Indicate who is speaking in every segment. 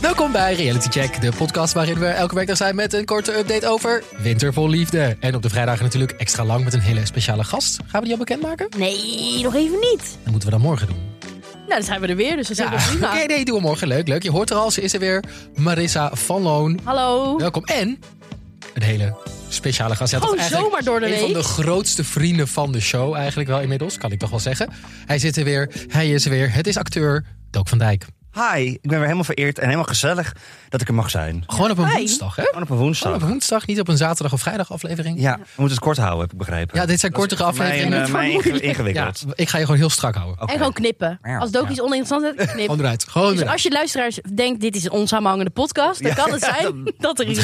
Speaker 1: Welkom bij Reality Check, de podcast waarin we elke week er zijn met een korte update over winter vol liefde. En op de vrijdagen natuurlijk extra lang met een hele speciale gast. Gaan we die al bekendmaken?
Speaker 2: Nee, nog even niet.
Speaker 1: Dat moeten we dan morgen doen.
Speaker 2: Nou, dan zijn we er weer, dus dat is
Speaker 1: Ja,
Speaker 2: helemaal
Speaker 1: oké,
Speaker 2: prima.
Speaker 1: nee, doen we morgen. Leuk, leuk. Je hoort er al, ze is er weer. Marissa van Loon.
Speaker 2: Hallo.
Speaker 1: Welkom. En een hele speciale gast. Ja, toch
Speaker 2: Gewoon
Speaker 1: eigenlijk
Speaker 2: zomaar door de
Speaker 1: Een van
Speaker 2: week.
Speaker 1: de grootste vrienden van de show eigenlijk wel inmiddels, kan ik toch wel zeggen. Hij zit er weer, hij is er weer. Het is acteur Dook van Dijk.
Speaker 3: Hi, ik ben weer helemaal vereerd en helemaal gezellig dat ik er mag zijn.
Speaker 1: Gewoon op een
Speaker 2: Hi.
Speaker 1: woensdag, hè?
Speaker 3: Gewoon op een
Speaker 1: Gewoon op
Speaker 3: woensdag.
Speaker 1: een woensdag, niet op een zaterdag of vrijdag aflevering.
Speaker 3: Ja, we moeten het kort houden, heb ik begrepen.
Speaker 1: Ja, dit zijn kortere afleveringen.
Speaker 3: Mijn, eh,
Speaker 2: Het
Speaker 3: mijn
Speaker 2: wordt moeilijk.
Speaker 1: Ja,
Speaker 3: ingewikkeld.
Speaker 1: ik ga je gewoon heel strak houden.
Speaker 3: Oké.
Speaker 2: En gewoon knippen.
Speaker 3: Ja.
Speaker 2: Als het ook
Speaker 3: Ja.
Speaker 2: iets oninteressants is, knip.
Speaker 1: Gewoon eruit. Gewoon
Speaker 2: Dus
Speaker 1: eruit.
Speaker 2: als je luisteraars denkt, dit is een onsamenhangende podcast, dan
Speaker 3: Ja,
Speaker 2: kan het
Speaker 3: ja,
Speaker 2: zijn dat er iets...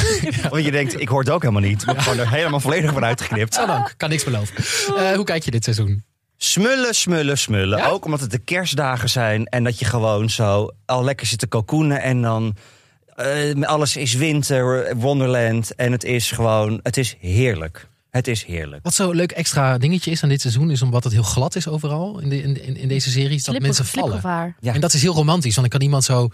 Speaker 3: Want je denkt, ik hoor het ook helemaal niet. Maar gewoon er helemaal volledig van uitgeknipt.
Speaker 1: Zo dank. Kan niks beloven. Eh, hoe kijk je dit seizoen?
Speaker 3: Smullen, smullen, smullen.
Speaker 1: Ja?
Speaker 3: Ook omdat het de kerstdagen zijn en dat je gewoon zo al lekker zit te kokoenen en dan... eh, alles is winter, wonderland en het is gewoon, het is heerlijk. Het is heerlijk.
Speaker 1: Wat zo'n leuk extra dingetje is aan dit seizoen, is omdat het heel glad is overal in, de, in, in, in deze series, dat mensen vallen.
Speaker 2: Slipgevaar.
Speaker 3: Ja.
Speaker 1: En dat is heel romantisch, want dan kan iemand zo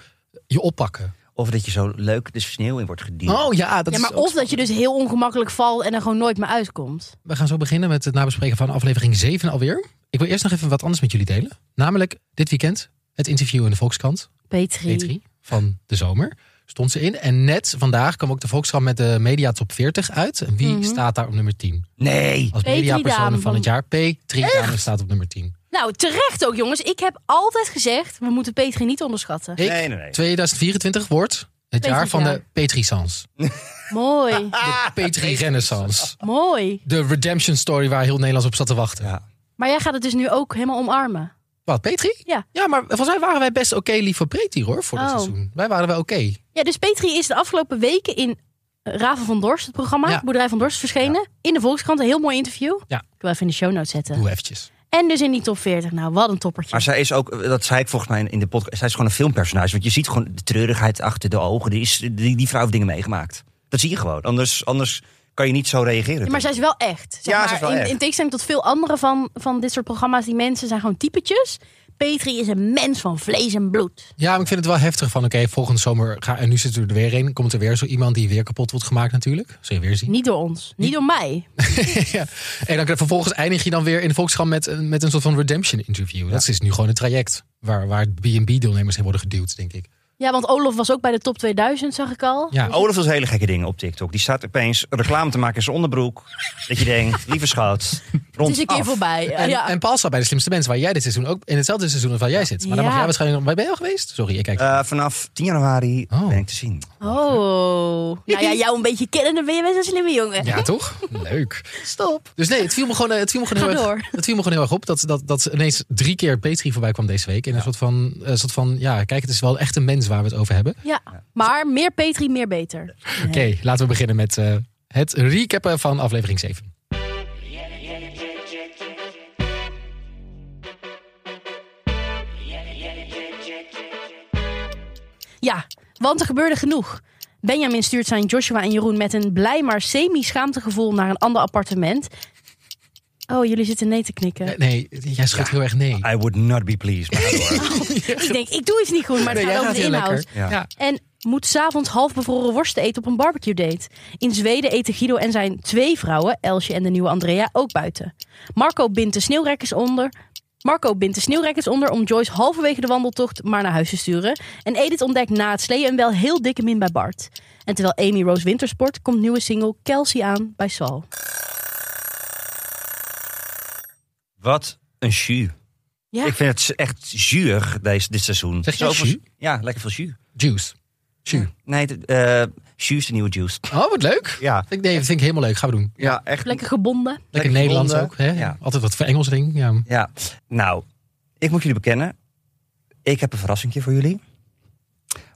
Speaker 1: je oppakken.
Speaker 3: Of dat je zo leuk de sneeuw in wordt gediend.
Speaker 1: Oh ja, dat
Speaker 2: Ja,
Speaker 1: is
Speaker 2: maar
Speaker 1: ook-
Speaker 2: of dat je dus heel ongemakkelijk valt en er gewoon nooit meer uitkomt.
Speaker 1: We gaan zo beginnen met het nabespreken van aflevering 7 alweer. Ik wil eerst nog even wat anders met jullie delen. Namelijk dit weekend het interview in de Volkskrant,
Speaker 2: Petri.
Speaker 1: E3 van de zomer, stond ze in. En net vandaag kwam ook de Volkskrant met de Media Top 40 uit. En wie
Speaker 2: Mhm.
Speaker 1: staat daar op nummer 10?
Speaker 3: Nee.
Speaker 1: Als
Speaker 2: Petri
Speaker 1: mediapersoon
Speaker 2: Dame
Speaker 1: van
Speaker 2: van-
Speaker 1: het jaar, P3 Dame staat op nummer 10.
Speaker 2: Nou, terecht ook jongens. Ik heb altijd gezegd, we moeten Petri niet onderschatten.
Speaker 1: Ik,
Speaker 3: Nee, nee, nee.
Speaker 1: 2024 wordt het jaar van de Petri-sans.
Speaker 2: Mooi,
Speaker 3: Ah,
Speaker 1: De Petri-renaissance.
Speaker 2: mooi.
Speaker 1: De redemption story waar heel Nederlands op zat te wachten.
Speaker 3: Ja.
Speaker 2: Maar jij gaat het dus nu ook helemaal omarmen.
Speaker 1: Wat, Petri?
Speaker 2: Ja.
Speaker 1: Ja, maar volgens mij waren wij best oké lief voor Petri hoor, voor dit
Speaker 2: Oh.
Speaker 1: seizoen. Wij waren wel oké.
Speaker 2: Ja, dus Petri is de afgelopen weken in eh, Raven van Dorst, het programma,
Speaker 1: Ja.
Speaker 2: Boerderij van Dorst, verschenen. In de Volkskrant, een heel mooi interview.
Speaker 1: Ja.
Speaker 2: Ik wil even in de show notes zetten.
Speaker 1: Doe eventjes.
Speaker 2: En dus in die top 40. Nou, wat een toppertje.
Speaker 3: Maar zij is ook, dat zei ik volgens mij in de podcast, zij is gewoon een filmpersonage. Want je ziet gewoon de treurigheid achter de ogen. Die, is, die, die vrouw heeft dingen meegemaakt. Dat zie je gewoon. Anders, anders kan je niet zo reageren.
Speaker 2: Ja, maar zij is wel echt. Zeg
Speaker 3: Ja,
Speaker 2: maar,
Speaker 3: ze is wel
Speaker 2: in,
Speaker 3: echt.
Speaker 2: in tegenstelling tot veel andere van, van dit soort programma's, die mensen zijn gewoon typetjes. Petri is een mens van vlees en bloed.
Speaker 1: Ja, maar ik vind het wel heftig van oké, volgende zomer ga en nu zit er weer een. Komt er weer zo iemand die weer kapot wordt gemaakt natuurlijk. Zul je weer zien.
Speaker 2: Niet door ons, niet door mij.
Speaker 1: ja. En dan vervolgens eindig je dan weer in de Volkskrant met, een- met een soort van redemption interview. Dat is dus nu gewoon een traject waar, waar B&B-deelnemers in worden geduwd, denk ik.
Speaker 2: Ja, want Olof was ook bij de top 2000, zag ik al.
Speaker 1: Ja.
Speaker 3: Olaf doet Oh, hele gekke dingen op TikTok. Die staat opeens reclame te maken in zijn onderbroek. dat je denkt, lieve schat,
Speaker 2: het
Speaker 3: rond
Speaker 2: is een keer
Speaker 3: af.
Speaker 2: voorbij.
Speaker 1: En,
Speaker 2: ja.
Speaker 1: en Paul staat bij de slimste mensen, waar jij dit seizoen ook in hetzelfde seizoen als waar jij zit. Maar dan mag
Speaker 2: Ja.
Speaker 1: jij waarschijnlijk nog. Waar ben je al geweest? Sorry, ik kijk.
Speaker 3: Eh, vanaf 10 januari
Speaker 1: Oh.
Speaker 3: ben ik te zien.
Speaker 2: oh, nou ja, jou een beetje kennen, dan ben je best een slimme jongen.
Speaker 1: ja, toch? Leuk.
Speaker 2: Stop.
Speaker 1: Dus nee, het viel me gewoon, eh, het viel me gewoon,
Speaker 2: Ga
Speaker 1: heel, erg,
Speaker 2: door.
Speaker 1: het viel me gewoon heel erg op dat, dat, dat ze ineens drie keer Petri voorbij kwam deze week. In een soort, van, eh, soort van, ja, kijk, het is wel echt een mens waar we het over hebben.
Speaker 2: Ja, maar meer Petri, meer beter.
Speaker 1: Oké, laten we beginnen met eh, het recappen van aflevering 7.
Speaker 2: Ja, want er gebeurde genoeg. Benjamin stuurt zijn Joshua en Jeroen met een blij maar semi-schaamtegevoel naar een ander appartement. Oh, jullie zitten nee te knikken.
Speaker 1: Eh, Nee, jij schudt heel erg nee.
Speaker 3: I would not be pleased. Maar ga door.
Speaker 2: Ik denk, ik doe iets niet goed, maar
Speaker 1: Nee,
Speaker 2: het
Speaker 1: jij
Speaker 2: gaat
Speaker 1: gaat
Speaker 2: over de
Speaker 1: heel
Speaker 2: inhoud.
Speaker 1: lekker.
Speaker 3: Ja.
Speaker 1: Ja.
Speaker 2: En moet s'avonds half bevroren worsten eten op een barbecue date. In Zweden eten Guido en zijn twee vrouwen, Elsje en de nieuwe Andrea, ook buiten. Marco bindt de sneeuwrekkers onder. Marco bindt de sneeuwrekkers onder om Joyce halverwege de wandeltocht maar naar huis te sturen. En Edith ontdekt na het sleeën een wel heel dikke min bij Bart. En terwijl Amy Rose wintersport, komt nieuwe single Kelsey aan bij Sal.
Speaker 3: Wat een jus.
Speaker 2: Ja,
Speaker 3: Ik vind het echt zuur deze, dit seizoen.
Speaker 1: Zeg je
Speaker 3: Zoveel-
Speaker 1: jus?
Speaker 3: Ja, lekker veel jus.
Speaker 1: Juice. Juice.
Speaker 3: Nee, de- eh jus is de nieuwe juice.
Speaker 1: Oh, wat leuk.
Speaker 3: Ja,
Speaker 1: Ik, nee, dat vind ik helemaal leuk. Gaan we doen.
Speaker 3: ja echt.
Speaker 2: lekker gebonden.
Speaker 1: Lekker
Speaker 3: Lekker
Speaker 1: Nederlands ook.
Speaker 3: gevonden.
Speaker 1: Hè?
Speaker 3: Ja.
Speaker 1: Altijd wat voor Engels ding. Ja.
Speaker 3: Ja, nou, ik moet jullie bekennen. Ik heb een verrassing voor jullie.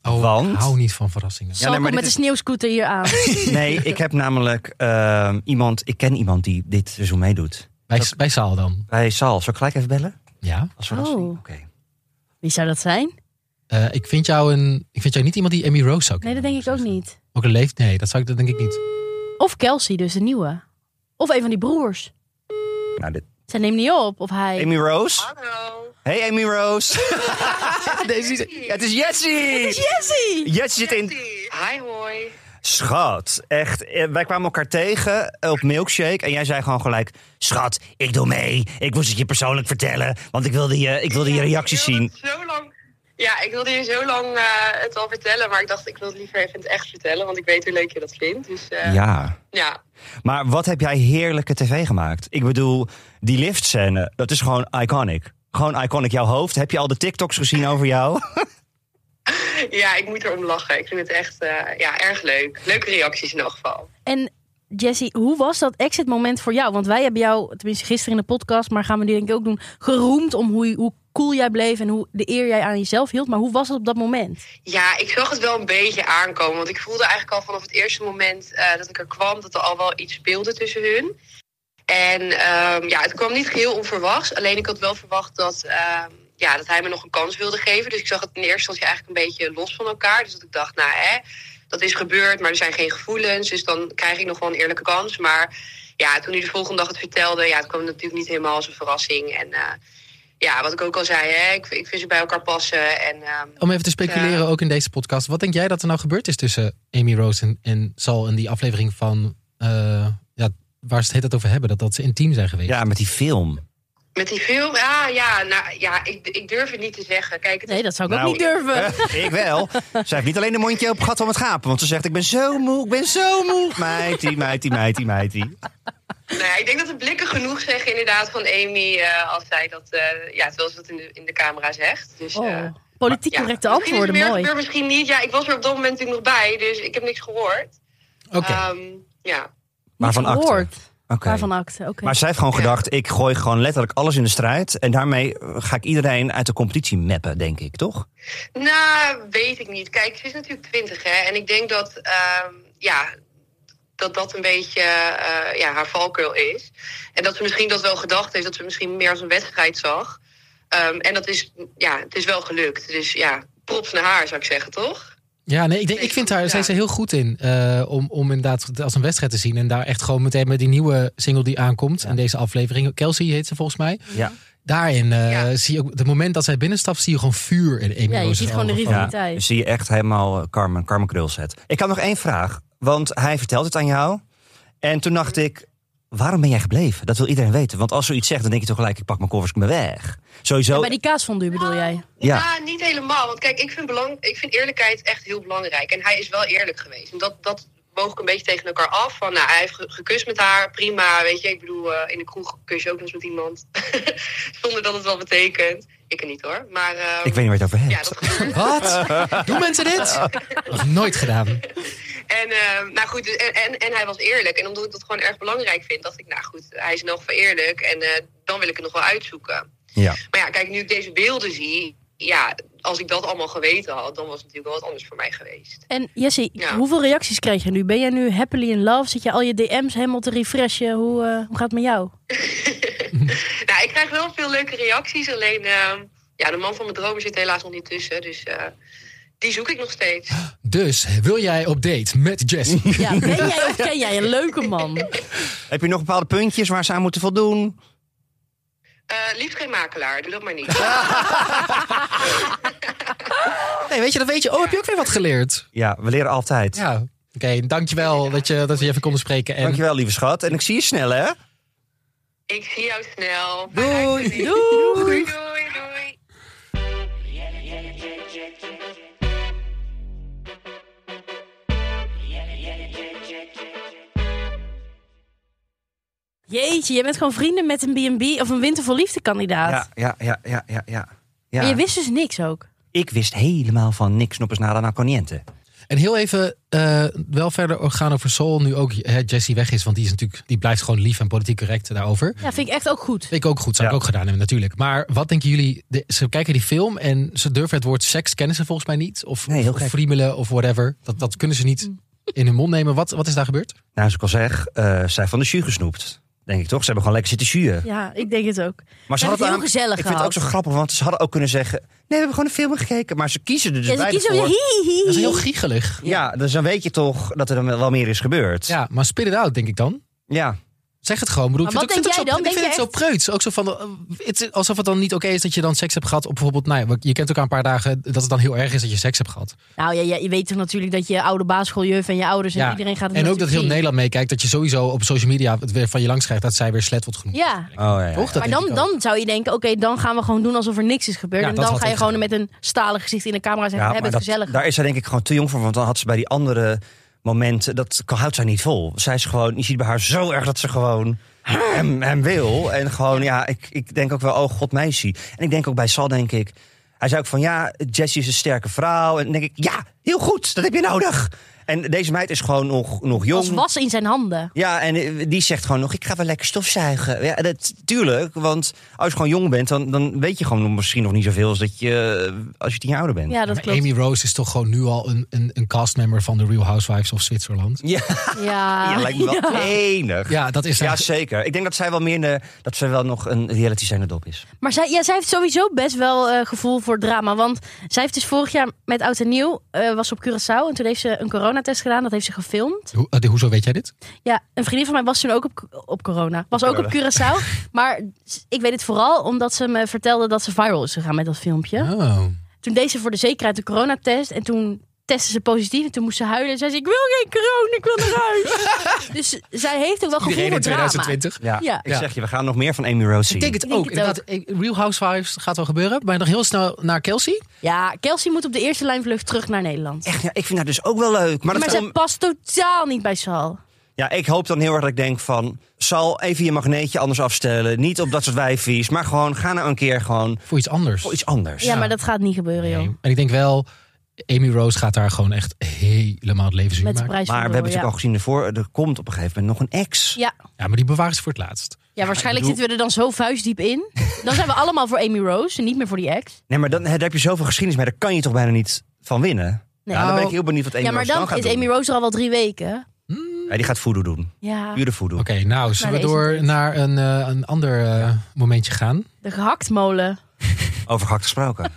Speaker 1: Oh,
Speaker 3: Want-
Speaker 1: ik hou niet van verrassingen.
Speaker 2: Sal
Speaker 3: nee, maar
Speaker 2: komt met
Speaker 3: dit
Speaker 2: de
Speaker 3: is-
Speaker 2: sneeuwscooter hier aan.
Speaker 3: Nee, ik heb namelijk ehm, iemand, ik ken iemand die dit seizoen meedoet.
Speaker 1: Bij, bij Saal dan.
Speaker 3: Bij Saal, zal ik gelijk even bellen?
Speaker 1: Ja.
Speaker 3: Als verrassing?
Speaker 2: Oh.
Speaker 3: Oké.
Speaker 2: Wie zou dat zijn?
Speaker 1: Eh, ik, vind jou een, ik vind jou niet iemand die Amy Rose zou
Speaker 2: Nee,
Speaker 1: kennen.
Speaker 2: dat denk ik ook niet.
Speaker 1: Ook een leeft? Nee, dat, zou ik, dat denk ik niet.
Speaker 2: Of Kelsey, dus de nieuwe. Of een van die broers.
Speaker 3: Nou, dit-
Speaker 2: Zij neemt niet op, of hij.
Speaker 3: Amy Rose?
Speaker 4: Hallo.
Speaker 3: Hey Amy Rose. Deze is- het is Jessie.
Speaker 2: Jessie!
Speaker 3: Jessie zit in.
Speaker 4: Hi, hoi.
Speaker 3: Schat, echt. eh, Wij kwamen elkaar tegen eh, op Milkshake. En jij zei gewoon gelijk: Schat, ik doe mee. Ik moest het je persoonlijk vertellen. Want ik wilde je, ik wilde je reacties
Speaker 4: Ik wilde
Speaker 3: zien.
Speaker 4: het Zo lang... Ja, ik wilde je zo lang eh, het al vertellen, maar ik dacht ik wil het liever even in het echt vertellen, want ik weet hoe leuk je dat vindt. Dus eh, ja.
Speaker 3: Ja. Maar wat heb jij heerlijke tv gemaakt? Ik bedoel, die liftscène, dat is gewoon iconic. Gewoon iconic. Jouw hoofd. Heb je al de TikToks gezien over jou?
Speaker 4: ja, ik moet erom lachen. Ik vind het echt eh, ja, erg leuk. Leuke reacties in elk geval.
Speaker 2: En Jessie, hoe was dat exit moment voor jou? Want wij hebben jou, tenminste gisteren in de podcast, maar gaan we die denk ik ook doen, geroemd om hoe, hoe cool jij bleef en hoe de eer jij aan jezelf hield. Maar hoe was het op dat moment?
Speaker 4: Ja, ik zag het wel een beetje aankomen, want ik voelde eigenlijk al vanaf het eerste moment eh, dat ik er kwam dat er al wel iets speelde tussen hun. En ehm, ja, het kwam niet geheel onverwachts. Alleen ik had wel verwacht dat, ehm, ja, dat hij me nog een kans wilde geven. Dus ik zag het in eerste instantie eigenlijk een beetje los van elkaar. Dus dat ik dacht, nou hè, dat is gebeurd, maar er zijn geen gevoelens. Dus dan krijg ik nog wel een eerlijke kans. Maar ja, toen hij de volgende dag het vertelde, ja, het kwam natuurlijk niet helemaal als een verrassing. En eh, ja, wat ik ook al zei, hè, ik, ik vind ze bij elkaar passen. En, ehm,
Speaker 1: Om even te speculeren,
Speaker 4: Ja.
Speaker 1: ook in deze podcast. Wat denk jij dat er nou gebeurd is tussen Amy Rose en, en Sal in die aflevering van... eh, ja, waar ze het het over hebben, dat, dat ze intiem zijn geweest.
Speaker 3: Ja, met die film.
Speaker 4: Met die film? Ja, ja, nou, ja ik, ik durf het niet te zeggen. Kijk, het is-
Speaker 2: Nee, dat zou ik
Speaker 3: Nou,
Speaker 2: ook niet durven.
Speaker 3: Eh, ik wel. Zij heeft niet alleen de mondje op gat om het gapen. Want ze zegt, ik ben zo moe, ik ben zo moe. Meitie, meitie, meitie, meitie.
Speaker 4: nee, Nou ik denk dat de blikken genoeg zeggen inderdaad van Amy eh, als zij dat, eh, ja, terwijl ze dat in de, in de camera zegt. Dus, eh,
Speaker 2: Oh, politiek
Speaker 4: ja.
Speaker 2: correcte
Speaker 4: Misschien is het
Speaker 2: antwoorden,
Speaker 4: weer
Speaker 2: mooi.
Speaker 4: gebeurd, misschien niet. Ja, ik was er op dat moment natuurlijk nog bij, dus ik heb niks gehoord.
Speaker 1: Oké,
Speaker 4: Ehm, ja.
Speaker 3: Waarvan
Speaker 2: Niet
Speaker 3: acte?
Speaker 2: gehoord.
Speaker 3: Oké.
Speaker 2: Waarvan acte, oké.
Speaker 3: Maar zij heeft gewoon gedacht, ik gooi gewoon letterlijk alles in de strijd. En daarmee eh, ga ik iedereen uit de competitie mappen, denk ik, toch?
Speaker 4: Nou, weet ik niet. Kijk, ze is natuurlijk twintig, hè. En ik denk dat, ehm, ja, dat dat een beetje eh, ja, haar valkuil is. En dat ze misschien dat wel gedacht heeft, dat ze misschien meer als een wedstrijd zag. Ehm, en dat is, ja, het is wel gelukt. Dus ja, props naar haar, zou ik zeggen, toch?
Speaker 1: Ja, nee, ik, denk, ik vind haar, zij is er heel goed in eh, om, om inderdaad als een wedstrijd te zien. En daar echt gewoon meteen met die nieuwe single die aankomt in deze aflevering. Kelsey heet ze volgens mij.
Speaker 3: Ja.
Speaker 1: Daarin eh,
Speaker 4: Ja.
Speaker 1: zie je ook, het moment dat zij binnenstapt, zie je gewoon vuur in Amy
Speaker 2: Ja, je
Speaker 1: Rose's
Speaker 2: ziet gewoon de
Speaker 1: ogen.
Speaker 2: rivier.
Speaker 3: Ja,
Speaker 2: Kwaliteit.
Speaker 3: dan zie je echt helemaal eh, Carmen, Carmen Krulset. Ik had nog één vraag, want hij vertelt het aan jou. En toen dacht ik, waarom ben jij gebleven? Dat wil iedereen weten. Want als zoiets zegt, dan denk je toch gelijk, ik pak mijn koffers, ik ben weg. Sowieso,
Speaker 2: Bij die kaasfondue bedoel jij?
Speaker 3: Ja.
Speaker 4: Nou, niet helemaal. Want kijk, ik vind, belang, ik vind eerlijkheid echt heel belangrijk. En hij is wel eerlijk geweest. En dat, dat woog ik een beetje tegen elkaar af. Van, nou, hij heeft ge- gekust met haar, prima. Weet je, ik bedoel, eh, in de kroeg kus je ook nog eens met iemand. Zonder dat het wel betekent. Ik er niet hoor. Maar ehm,
Speaker 3: ik weet niet waar je het over hebt.
Speaker 4: ja, dat gebeurt.
Speaker 1: Wat? Doen mensen dit? Nog nooit gedaan.
Speaker 4: En, ehm, nou goed, dus- en, en, en hij was eerlijk. En omdat ik dat gewoon erg belangrijk vind, dacht ik, nou goed, hij is in elk geval eerlijk. En eh, dan wil ik het nog wel uitzoeken.
Speaker 3: Ja.
Speaker 4: Maar ja, kijk, nu ik deze beelden zie, ja, als ik dat allemaal geweten had, dan was het natuurlijk wel wat anders voor mij geweest.
Speaker 2: En Jessie,
Speaker 4: Ja.
Speaker 2: hoeveel reacties krijg je nu? Ben jij nu happily in love? Zit je al je DM's helemaal te refreshen? Hoe, eh, hoe gaat het met jou?
Speaker 4: Nou, ik krijg wel veel leuke reacties. Alleen, ehm, ja, de man van mijn dromen zit helaas nog niet tussen. Dus eh, die zoek ik nog steeds.
Speaker 1: Dus wil jij op date met Jessie?
Speaker 2: Ja, ben jij of ken jij een leuke man?
Speaker 3: Heb je nog bepaalde puntjes waar ze aan moeten voldoen?
Speaker 4: Eh liefst geen makelaar, doe dat maar niet.
Speaker 1: Nee, weet je, dat weet je. Oh, heb je ook weer wat geleerd?
Speaker 3: Ja, we leren altijd.
Speaker 1: Ja. Oké, dankjewel dat, je, dat we je even konden spreken. En
Speaker 3: Dankjewel, lieve schat. En ik zie je snel, hè?
Speaker 4: ik zie jou snel.
Speaker 3: Doei.
Speaker 4: Doei, doei, doei.
Speaker 2: Jeetje, je bent gewoon vrienden met een B&B of een winter voor liefde kandidaat.
Speaker 3: Ja, ja, ja, ja, ja. ja. ja.
Speaker 2: Maar je wist dus niks ook.
Speaker 3: Ik wist helemaal van niks, noppers nada na coniente.
Speaker 1: En heel even eh, wel verder gaan over Sol. Nu ook hè, Jessie weg is. Want die, is natuurlijk, die blijft gewoon lief en politiek correct daarover.
Speaker 2: Ja, vind ik echt ook goed.
Speaker 1: Ik ook goed. Zou ik
Speaker 3: Ja.
Speaker 1: ook gedaan hebben natuurlijk. Maar wat denken jullie? de- ze kijken die film en ze durven het woord seks kennen ze volgens mij niet. Of,
Speaker 3: Nee, heel
Speaker 1: of
Speaker 3: gek.
Speaker 1: friemelen of whatever. Dat, dat kunnen ze niet
Speaker 2: Mm.
Speaker 1: in hun mond nemen. Wat, wat is daar gebeurd?
Speaker 3: Nou, zoals ik al zeg, eh, zij van de jus gesnoept. Denk ik toch? Ze hebben gewoon lekker zitten juren.
Speaker 2: Ja, ik denk het
Speaker 1: Dus
Speaker 2: ook.
Speaker 3: Maar ze
Speaker 2: hebben het heel
Speaker 3: namelijk-
Speaker 2: gezellig
Speaker 3: Ik vind het ook
Speaker 2: gehad.
Speaker 3: zo grappig, want ze hadden ook kunnen zeggen... Nee, we hebben gewoon een film gekeken. Maar ze kiezen er dus
Speaker 2: Ja, ze
Speaker 3: beide
Speaker 2: kiezen
Speaker 3: voor.
Speaker 2: hi, hi, hi.
Speaker 1: Dat is heel giegelig.
Speaker 3: Ja, dus dan weet je toch dat er dan wel meer is gebeurd.
Speaker 1: Ja, maar spit it out denk ik dan.
Speaker 3: Ja.
Speaker 1: Zeg het gewoon. Bedoel,
Speaker 2: Maar
Speaker 1: ik vind
Speaker 2: wat
Speaker 1: het ook-
Speaker 2: denk
Speaker 1: vind
Speaker 2: jij
Speaker 1: het
Speaker 2: dan?
Speaker 1: zo- Ik vind het zo preuts. Ook zo van, eh, het is alsof het dan niet oké is dat je dan seks hebt gehad. Op bijvoorbeeld, nou ja, je kent elkaar een paar dagen. Dat het dan heel erg is dat je seks hebt gehad.
Speaker 2: Nou ja, ja, je weet toch natuurlijk dat je oude basisschooljeuf en je ouders en
Speaker 1: Ja.
Speaker 2: iedereen gaat het
Speaker 1: En ook dat
Speaker 2: natuurlijk
Speaker 1: heel
Speaker 2: zien.
Speaker 1: Nederland meekijkt. Dat je sowieso op social media het weer van je langs krijgt. Dat zij weer slet wordt genoemd.
Speaker 2: Ja,
Speaker 3: Oh ja, ja.
Speaker 1: Toch? Dat
Speaker 2: maar
Speaker 1: denk
Speaker 2: dan,
Speaker 1: ik ook.
Speaker 2: dan zou je denken, oké, dan gaan we gewoon doen alsof er niks is gebeurd.
Speaker 1: Ja,
Speaker 2: en
Speaker 1: dat
Speaker 2: dan
Speaker 1: had
Speaker 2: ga je
Speaker 1: ik
Speaker 2: gewoon met een stalen gezicht in de camera zeggen,
Speaker 3: Ja,
Speaker 2: we hebben
Speaker 3: maar
Speaker 2: het
Speaker 3: dat-
Speaker 2: gezellig.
Speaker 3: Daar is zij denk ik gewoon te jong voor. Want dan had ze bij die andere momenten... Dat kan- houdt zij niet vol. Zij is gewoon... Je ziet bij haar zo erg dat ze gewoon... Hem, hem wil. En gewoon, ja, ik, ik denk ook wel... Oh, god, meisje. En ik denk ook bij Sal, denk ik... Hij zei ook van, ja, Jessie is een sterke vrouw. En dan denk ik, ja, heel goed. Dat heb je nodig. En deze meid is gewoon nog, nog
Speaker 2: Als
Speaker 3: jong.
Speaker 2: was in zijn handen.
Speaker 3: Ja, en eh, die zegt gewoon nog, ik ga wel lekker stofzuigen. Ja, dat, tuurlijk, want als je gewoon jong bent... dan, dan weet je gewoon misschien nog niet zoveel... als dat je eh, als je tien jaar ouder bent.
Speaker 2: Ja, dat
Speaker 1: Maar
Speaker 2: klopt.
Speaker 1: Amy Rose is toch gewoon nu al een, een, een castmember van The Real Housewives of Zwitserland.
Speaker 3: Ja.
Speaker 2: Ja.
Speaker 3: Ja, lijkt me wel
Speaker 2: Ah. Ja.
Speaker 3: enig. Ja.
Speaker 1: Ja, dat is eigenlijk-
Speaker 3: zeker. Ik denk dat zij wel meer een, eh, dat zij wel nog een reality zijnde dop is.
Speaker 2: Maar zij, ja, zij heeft sowieso best wel eh, gevoel voor drama. Want zij heeft dus vorig jaar met Oud en Nieuw, eh, was ze op Curaçao. En toen heeft ze een coronatest gedaan, dat heeft ze gefilmd.
Speaker 1: Hoe- eh, hoezo weet jij dit?
Speaker 2: Ja, een vriendin van mij was toen ook op, op corona. Was ook op Curaçao. maar ik weet het vooral omdat ze me vertelde dat ze viral is gegaan met dat filmpje.
Speaker 1: Oh.
Speaker 2: Toen deed ze voor de zekerheid de coronatest. En toen testte ze positief. En toen moest ze huilen. En zei ze, ik wil geen corona, ik wil naar huis. dus zij heeft ook wel gevoel
Speaker 1: Iedereen
Speaker 2: voor
Speaker 1: in
Speaker 2: drama.
Speaker 1: 2020.
Speaker 3: Ja.
Speaker 2: Ja.
Speaker 3: Ik
Speaker 1: Ja.
Speaker 3: zeg je, we gaan nog meer van Amy Rose zien.
Speaker 1: Ik denk het
Speaker 2: Ik denk
Speaker 1: ook.
Speaker 2: het ook.
Speaker 1: inderdaad. Ik- Real Housewives gaat wel gebeuren. Maar nog heel snel naar Kelsey.
Speaker 2: Ja, Kelsey moet op de eerste lijn vlucht terug naar Nederland.
Speaker 3: Echt, ja, ik vind haar dus ook wel leuk. Maar,
Speaker 2: maar
Speaker 3: dat
Speaker 2: zij
Speaker 3: komt-
Speaker 2: past totaal niet bij Sal.
Speaker 3: ja, ik hoop dan heel erg dat ik denk van... Sal, even je magneetje anders afstellen. Niet op dat soort wijfies. Maar gewoon, ga nou een keer gewoon
Speaker 1: Voor iets anders.
Speaker 3: voor iets anders.
Speaker 2: Ja, maar dat gaat niet gebeuren, joh.
Speaker 1: En ik denk wel, Amy Rose gaat daar gewoon echt helemaal het leven zien
Speaker 2: Met de
Speaker 1: maken.
Speaker 2: prijs
Speaker 3: Maar we
Speaker 2: van
Speaker 3: hebben
Speaker 2: Royal,
Speaker 3: natuurlijk al gezien ervoor. Er komt op een gegeven moment nog een ex.
Speaker 2: ja. Ja.
Speaker 1: Ja, maar die bewaren ze voor het laatst.
Speaker 2: ja, waarschijnlijk
Speaker 3: bedoel-
Speaker 2: zitten we er dan zo vuistdiep in. Dan zijn we allemaal voor Amy Rose en niet meer voor die ex.
Speaker 3: Nee, maar dan, daar heb je zoveel geschiedenis mee. Daar kan je toch bijna niet van winnen?
Speaker 2: Nee. Nou.
Speaker 3: Ja, dan ben ik heel benieuwd wat Amy
Speaker 2: ja, maar
Speaker 3: Rose
Speaker 2: dan
Speaker 3: gaat
Speaker 2: is
Speaker 3: doen.
Speaker 2: Amy Rose er al wel drie weken.
Speaker 3: Ja, die gaat voodoo doen.
Speaker 2: Ja,
Speaker 3: Pure voodoo.
Speaker 1: Oké, nou, zullen
Speaker 2: Maar
Speaker 1: we
Speaker 2: er is
Speaker 1: door
Speaker 2: niet.
Speaker 1: naar een, eh, een ander eh, momentje gaan?
Speaker 2: de gehaktmolen.
Speaker 3: Over gehakt gesproken.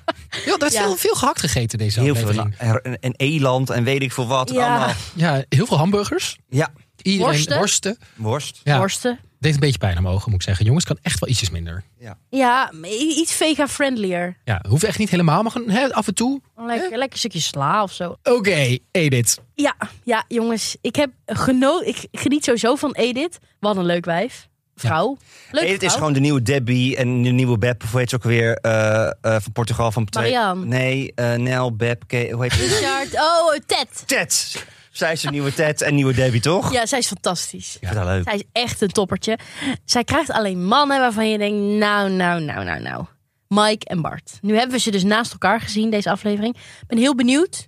Speaker 1: Ja, er is
Speaker 2: Ja.
Speaker 1: veel, veel gehakt gegeten deze
Speaker 3: Heel veel.
Speaker 1: aflevering.
Speaker 3: er- En, en eland en weet ik veel wat.
Speaker 2: Ja.
Speaker 3: Allemaal.
Speaker 1: Ja, heel veel hamburgers.
Speaker 3: Ja,
Speaker 1: Iedereen
Speaker 2: Worsten.
Speaker 1: worsten.
Speaker 3: worst.
Speaker 1: Ja,
Speaker 2: Worsten.
Speaker 1: deed een beetje pijn aan mijn ogen, moet ik zeggen. Jongens, kan echt wel ietsjes minder.
Speaker 2: Ja, i- iets vega-friendlier.
Speaker 1: Ja, hoeft echt niet helemaal, maar gewoon, hè, af en toe.
Speaker 2: Een lekker, lekker stukje sla of zo.
Speaker 1: Oké, Edith.
Speaker 2: Ja, ja, jongens. Ik, heb geno ik geniet sowieso van Edith. Wat een leuk wijf. Vrouw. Leuk
Speaker 3: Edith is
Speaker 2: vrouw.
Speaker 3: gewoon de nieuwe Debbie en de nieuwe Beb. Of hoe heet ze ook weer? eh, eh, van Portugal. Van Pate-
Speaker 2: Marianne.
Speaker 3: Nee, eh, Nel, Beb, Ke- hoe heet ze?
Speaker 2: Richard. Oh, Ted.
Speaker 3: Ted. Zij is de nieuwe Ted en nieuwe Debbie, toch?
Speaker 2: Ja, zij is fantastisch.
Speaker 3: Ik vind dat leuk.
Speaker 2: Zij is echt een toppertje. Zij krijgt alleen mannen waarvan je denkt, nou, nou, nou, nou, nou. Mike en Bart. Nu hebben we ze dus naast elkaar gezien, deze aflevering. Ik ben heel benieuwd.